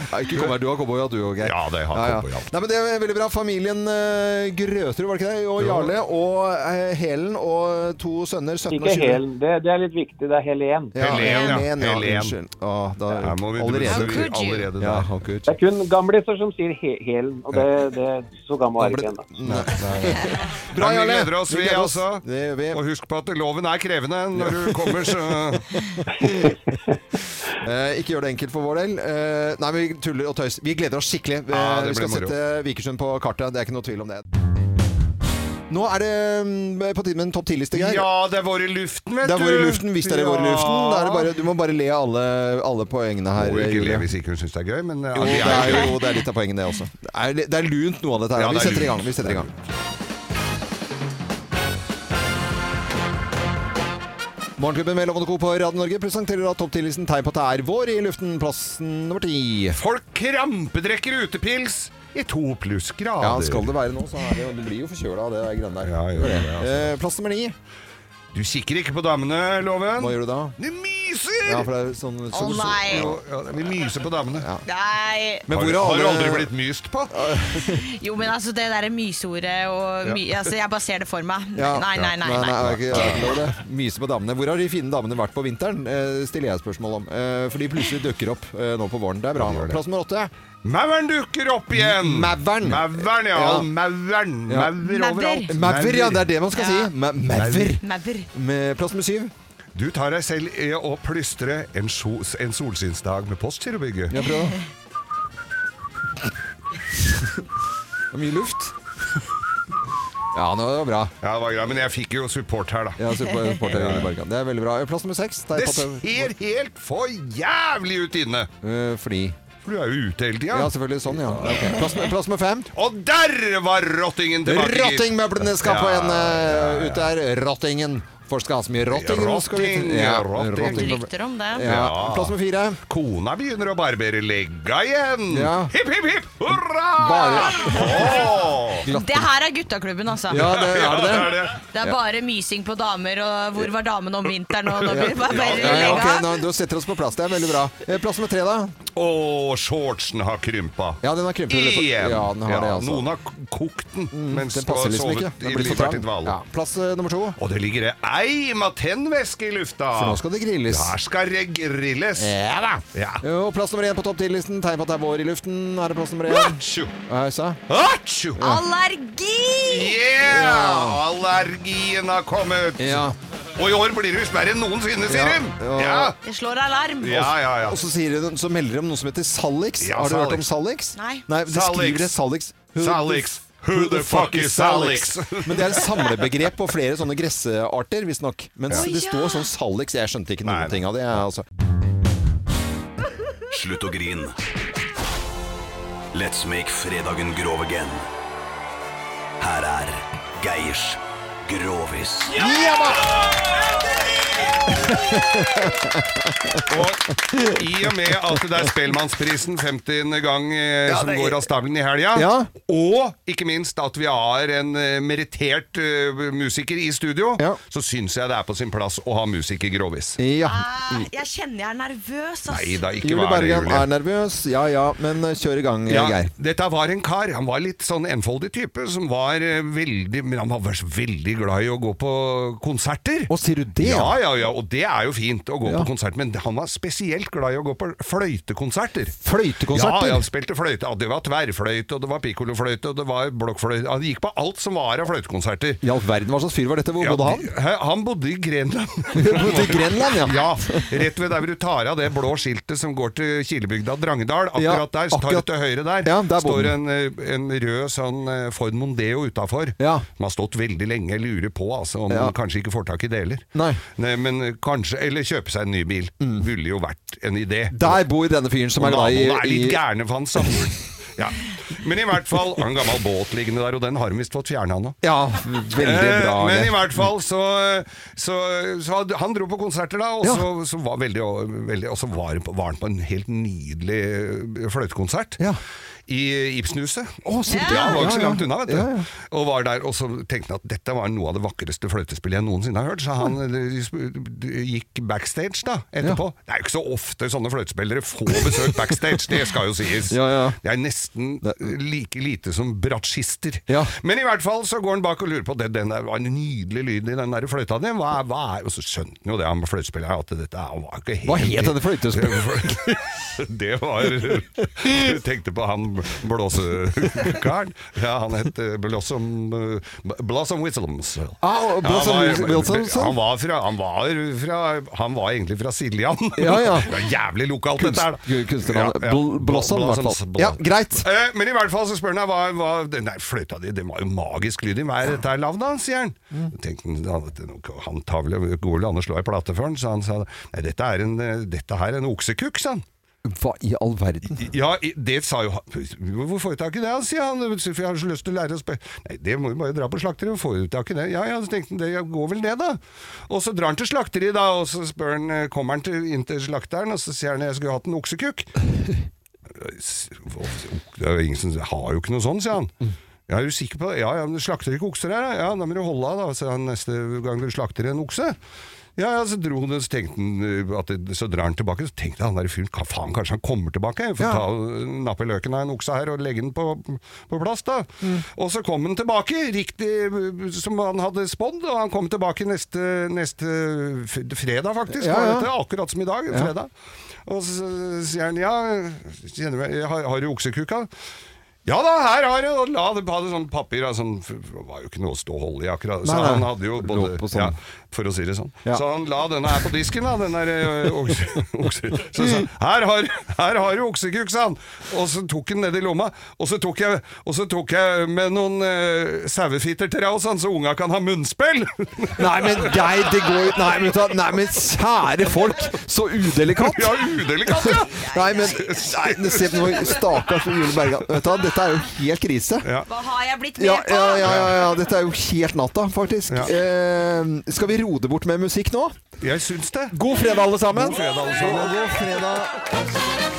Nei, ikke kom her, du har cowboyhatt du òg, Geir.
Ja, det har cowboyhatt.
Nei, men Det er veldig bra. Familien eh, Grøterud, var det ikke det? Og Jarle og eh, Helen og to sønner, 17 og
Ikke
20.
Helen, det, det er litt viktig. Det er Helen.
Ja, Helen, ja. Helen, ja.
Helen.
Unnskyld. Å, da,
Her må vi
allerede,
bruke allerede
Ja,
der.
how could
Det er kun gamliser som sier he Helen, og det, det så gammel er ikke ennå.
Bra,
Men Vi
Jarle.
gleder oss,
Vi
vi
gleder oss.
altså. Og husk på at loven er krevende når du kommer, så
Eh, ikke gjør det enkelt for vår del. Eh, nei, men vi tuller og tøys. Vi gleder oss skikkelig. Eh,
Ja, det
vi skal
blir moro.
sette Vikersund på kartet. Det er ikke noe tvil om det. Nå er det mm, på tide med en topp 10-liste, Geir.
Ja, det er vår i luften, vet
det
du.
er vår i luften, hvis det er vår i
Ja.
luften. Da er det bare, du må bare le av alle, alle poengene her.
Må jo ikke
Julie.
le hvis ikke hun syns det er gøy, men
Jo, det er, jo, det er litt av poenget, det også. Det er, det er lunt, noe av dette her.
Ja, det
vi,
er
setter i
lunt.
gang, vi setter i gang. Morgenklubben med Lovende Co. på Radio Norge presenterer da topp 10-listen tegn på at det er vår i luften. Plassen nummer ti.
Folk krampedrekker utepils i to pluss grader.
Ja, skal det være nå, så er det jo Du blir jo forkjøla av det der greiene der.
gjør det, altså.
Eh, Plass nummer ni.
Du kikker ikke på damene, Loven.
Hva gjør du da?
Du myser!
Ja, for det er sånn
Å
sol- sol-
nei.
Ja, ja, vi myser på damene.
Nei.
Men hvor
har,
er
har du
alle-
aldri blitt myst på?
Jo, men altså det derre myseordet og my,
Ja.
altså, Jeg bare ser det for meg.
Ja.
Nei, nei, nei.
nei, det
nei,
er ikke- det er ikke lov, det. Myse på damene. Hvor har de fine damene vært på vinteren? Eh, stiller jeg spørsmål om. Eh, for de plutselig dukker opp eh, nå på våren. Det er bra. Plass nummer åtte.
Mauren dukker opp igjen!
Mauren.
Mauren, ja.
Ja.
Mauren.
Ja.
Maur overalt.
Maver, ja. Det er det man skal
Ja.
si. Ma- Maver. Med plass nummer syv.
Du tar deg selv i å plystre en, so en solskinnsdag med postgirobygget.
Ja, prøv da. Det er mye luft. Ja, nå var det bra.
Ja, det var greit, Men jeg fikk jo support her, da.
Ja, support- support her, Julie Bergan. Det er veldig bra. Plass nummer seks.
Det ser helt for jævlig ut inne!
fordi
For du er jo ute hele tida.
eh, Ja, selvfølgelig. Sånn, ja. Ok. Plass, plass nummer fem.
Og der var rottingen tilbake!
Rottingmøblene skal på en eh,
ja, ja.
ut der. Rottingen. Folk skal ha så mye rotting. nå skal vi-
Rotting,
Ja,
rotting.
rotting. Ja. Plass nummer fire.
Kona begynner å barbere legga igjen.
Ja.
Hipp, hipp, hipp! Hurra! Åh!
Det her er guttaklubben, altså.
Ja, det- er det det? Ja, det er det.
Det er
Ja.
bare mysing på damer, og hvor var damen om vinteren? Og når vi var
Ja, ja,
bare
ja,
legga.
ok, nå, du setter oss på plass. Det er veldig bra. Eh, Plass nummer tre, da?
Og shortsen har krympa.
Ja, den har krympet. i løpet-
Igjen!
Ja, den har det, altså.
Noen har k- kokt den mens
den passer liksom ikke. Den
i
blir for
livert
trang.
intervall.
Ja, Plass eh, nummer to.
Og det ligger ei eim av tennvæske i lufta!
For nå skal det grilles.
Der skal det grilles!
Ja da. Jo, plass nummer én på topp 10-listen. Tegn på at det er vår i luften. Her er plass nummer én.
Atsjo!
Hva sa jeg? Eh. Ja.
Allergi!
Yeah!
Ja.
Allergien har kommet! Og i år blir det visst verre enn noensinne, sier
Ja,
hun!
ja.
Ja.
Det slår alarm.
Ja, ja, ja.
Og så, sier hun, så melder de om noe som heter Salix.
Ja,
har du hørt om
Salix.
Salix?
Nei.
Nei de skriver det Salix. Who the
Salix.
f-
Who the fuck is Salix?
Men det er et samlebegrep på flere sånne gressarter, visstnok. Mens
Ja.
det står sånn Salix. Jeg skjønte ikke noen ting av det. Jeg, altså.
Slutt å grin. Let's make fredagen grov again. Her er Geirs Grovis.
Ja, da!
Og i og med at det er Spellemannsprisen 50. gang eh,
Ja,
som
det er-
går av stabelen i helga, og ikke minst at vi har en eh, merittert eh, musiker i studio, så syns jeg det er på sin plass å ha musiker grovis.
Ah, Jeg kjenner jeg er nervøs, ass.
Nei da, ikke
Julie
vær det,
Bergan
Julie.
er nervøs. Ja ja, men eh, kjør i gang, eh,
Ja,
Ah, Geir.
dette var en kar, han var litt sånn enfoldig type, som var eh, veldig Men han var så veldig glad i å gå på konserter.
Å, sier du det?
Ja, ja, ja, og det er jo fint å gå
Ja.
på konsert, men han var spesielt glad i å gå på fløytekonserter.
Fløytekonserter?
Ja, ja, han spilte fløyte. Ja, det var tverrfløyte, og det var pikkolofløyte, og det var blokkfløyte. Han gikk på alt som var av fløytekonserter.
I all verden, hva slags fyr var dette? Hvor
Ja,
bodde han?
de- hæ, han bodde i Grenland.
bodde i Grenland, ja.
Rett ved der hvor du tar av det blå skiltet som går til Kilebygda Drangedal.
Ja,
Akkurat der, så tar du
akkurat-
til høyre der,
der bodde
står
den.
en, eh, en rød sånn eh, Ford Mondeo utafor. Den har stått veldig lenge. Jeg lurer på altså, om
Ja.
den kanskje ikke får tak i deler.
Nei. Mm.
men eh, kanskje Eller kjøpe seg en ny bil. Ville jo vært en idé.
Der bor denne fyren som
Og
er glad i,
naboene er litt
i
gærne for han samboer. Ja. Men i hvert fall har en gammel båt liggende der, og den har de visst fått fjerna nå.
Ja, veldig bra.
Eh, Men
Geir.
i hvert fall så, så, så hadde- Han dro på konserter da, og så, så var, veldig, veldig, og så var, var han på en helt nydelig eh, fløytekonsert. I Ibsenhuset.
Å, sier du det?
ja, han var ikke
Ja,
så
ja.
langt unna, vet du.
Ja, ja.
Og var der, og så tenkte han at dette var noe av det vakreste fløytespillet jeg noensinne har hørt. Så han eh, gikk backstage da, etterpå. Det er jo ikke så ofte sånne fløytespillere får besøk backstage, det skal jo sies. Det er nesten like lite som bratsjister. Men i hvert fall så går han bak og lurer på det, den der, var en nydelig lyd i den der fløyta di. Hva, er- hva er Og så skjønte han jo det, han fløytespilleren, at dette er- var ikke helt
Hva het denne fløytespilleren?
det var Du tenkte på han blåsekaren. Ja, han het eh, Blossom eh, Blossom Whistlems.
Ah, og Blossom
han var-
Whistlems, ja.
Han var, fra, han, var fra, han var egentlig fra Siljan.
Ja, ja.
Det var jævlig lokalt,
Kunst-
dette her. da.
kunstnernavnet. Bl- Blossom, i hvert fall.
Blossoms-
Ja, greit.
Eh, men i hvert fall så spør han deg hva, hva Den der fløyta di, den var jo magisk lyd i. Hva er dette her lavt, da? sier han. Så tenkte han, han at han tar vel går vel an å slå ei plate for han, så han sa nei, dette er en, eh, dette her er en oksekukk, sa han.
Hva i all verden?
Ja, i- det sa jo han. Hvorfor får vi tak i det, sier han. For jeg har så lyst til å lære å spille. Nei, det må vi bare dra på slakteriet og få tak i det. Ja, ja, så tenkte han, det går vel det, da. Og så drar han til slakteriet, da, og så spør han, eh, kommer han til, inn til slakteren, og så sier han jeg skulle hatt en oksekukk. Det er jo ingen som jeg har jo ikke noe sånn, sier han. Ja, er du sikker på det? Ja, ja, men du slakter ikke okser her, da? Ja, da må du holde av, da, sier han neste gang du slakter en okse. Ja, ja, så dro han, så tenkte han eh, at det, Så drar han tilbake, så tenkte han der fyren "Ka- Faen, kanskje han kommer tilbake? Jeg får ta og eh, nappe løken av en okse her og legge den på, på plass, da. Og så kom han tilbake, riktig eh, som han hadde spådd, og han kom tilbake neste, neste f- fredag, faktisk.
Ja,
var
ja.
dette, akkurat som i dag,
Ja.
fredag. Og så sier han ja, kjenner du meg? har, har du oksekukka? Ja da, her har jeg og la det hadde sånn papir da, sånn, for Det var jo ikke noe å stå og holde i akkurat. Så
Nei, nei.
han hadde jo både
Lå på sånn.
ja, For å si det sånn.
Ja.
Så han la denne her på disken, da. Den der ø, okse, okse. Så sa han her har, her har du oksekuk, sa han. Og så tok han ned i lomma. Og så tok jeg, og så tok jeg med noen uh, sauefiter til deg, og sånn, så unga kan ha munnspill!
Nei, men Geir, det går jo Nei, men, ta- nei, men kjære folk, så udelikat!
Ja, udelikat, ja.
Nei, men nei, men se på noe Stakkars Julie Bergan. Vet du hva, dette er jo helt krise.
Hva har jeg blitt med
Ja,
på?
ja, ja, ja, ja, dette er jo helt natta, faktisk. Eh, skal vi ro det bort med musikk nå.
Jeg syns det.
God fredag, alle sammen.
God fredag, alle sammen.
God fredag.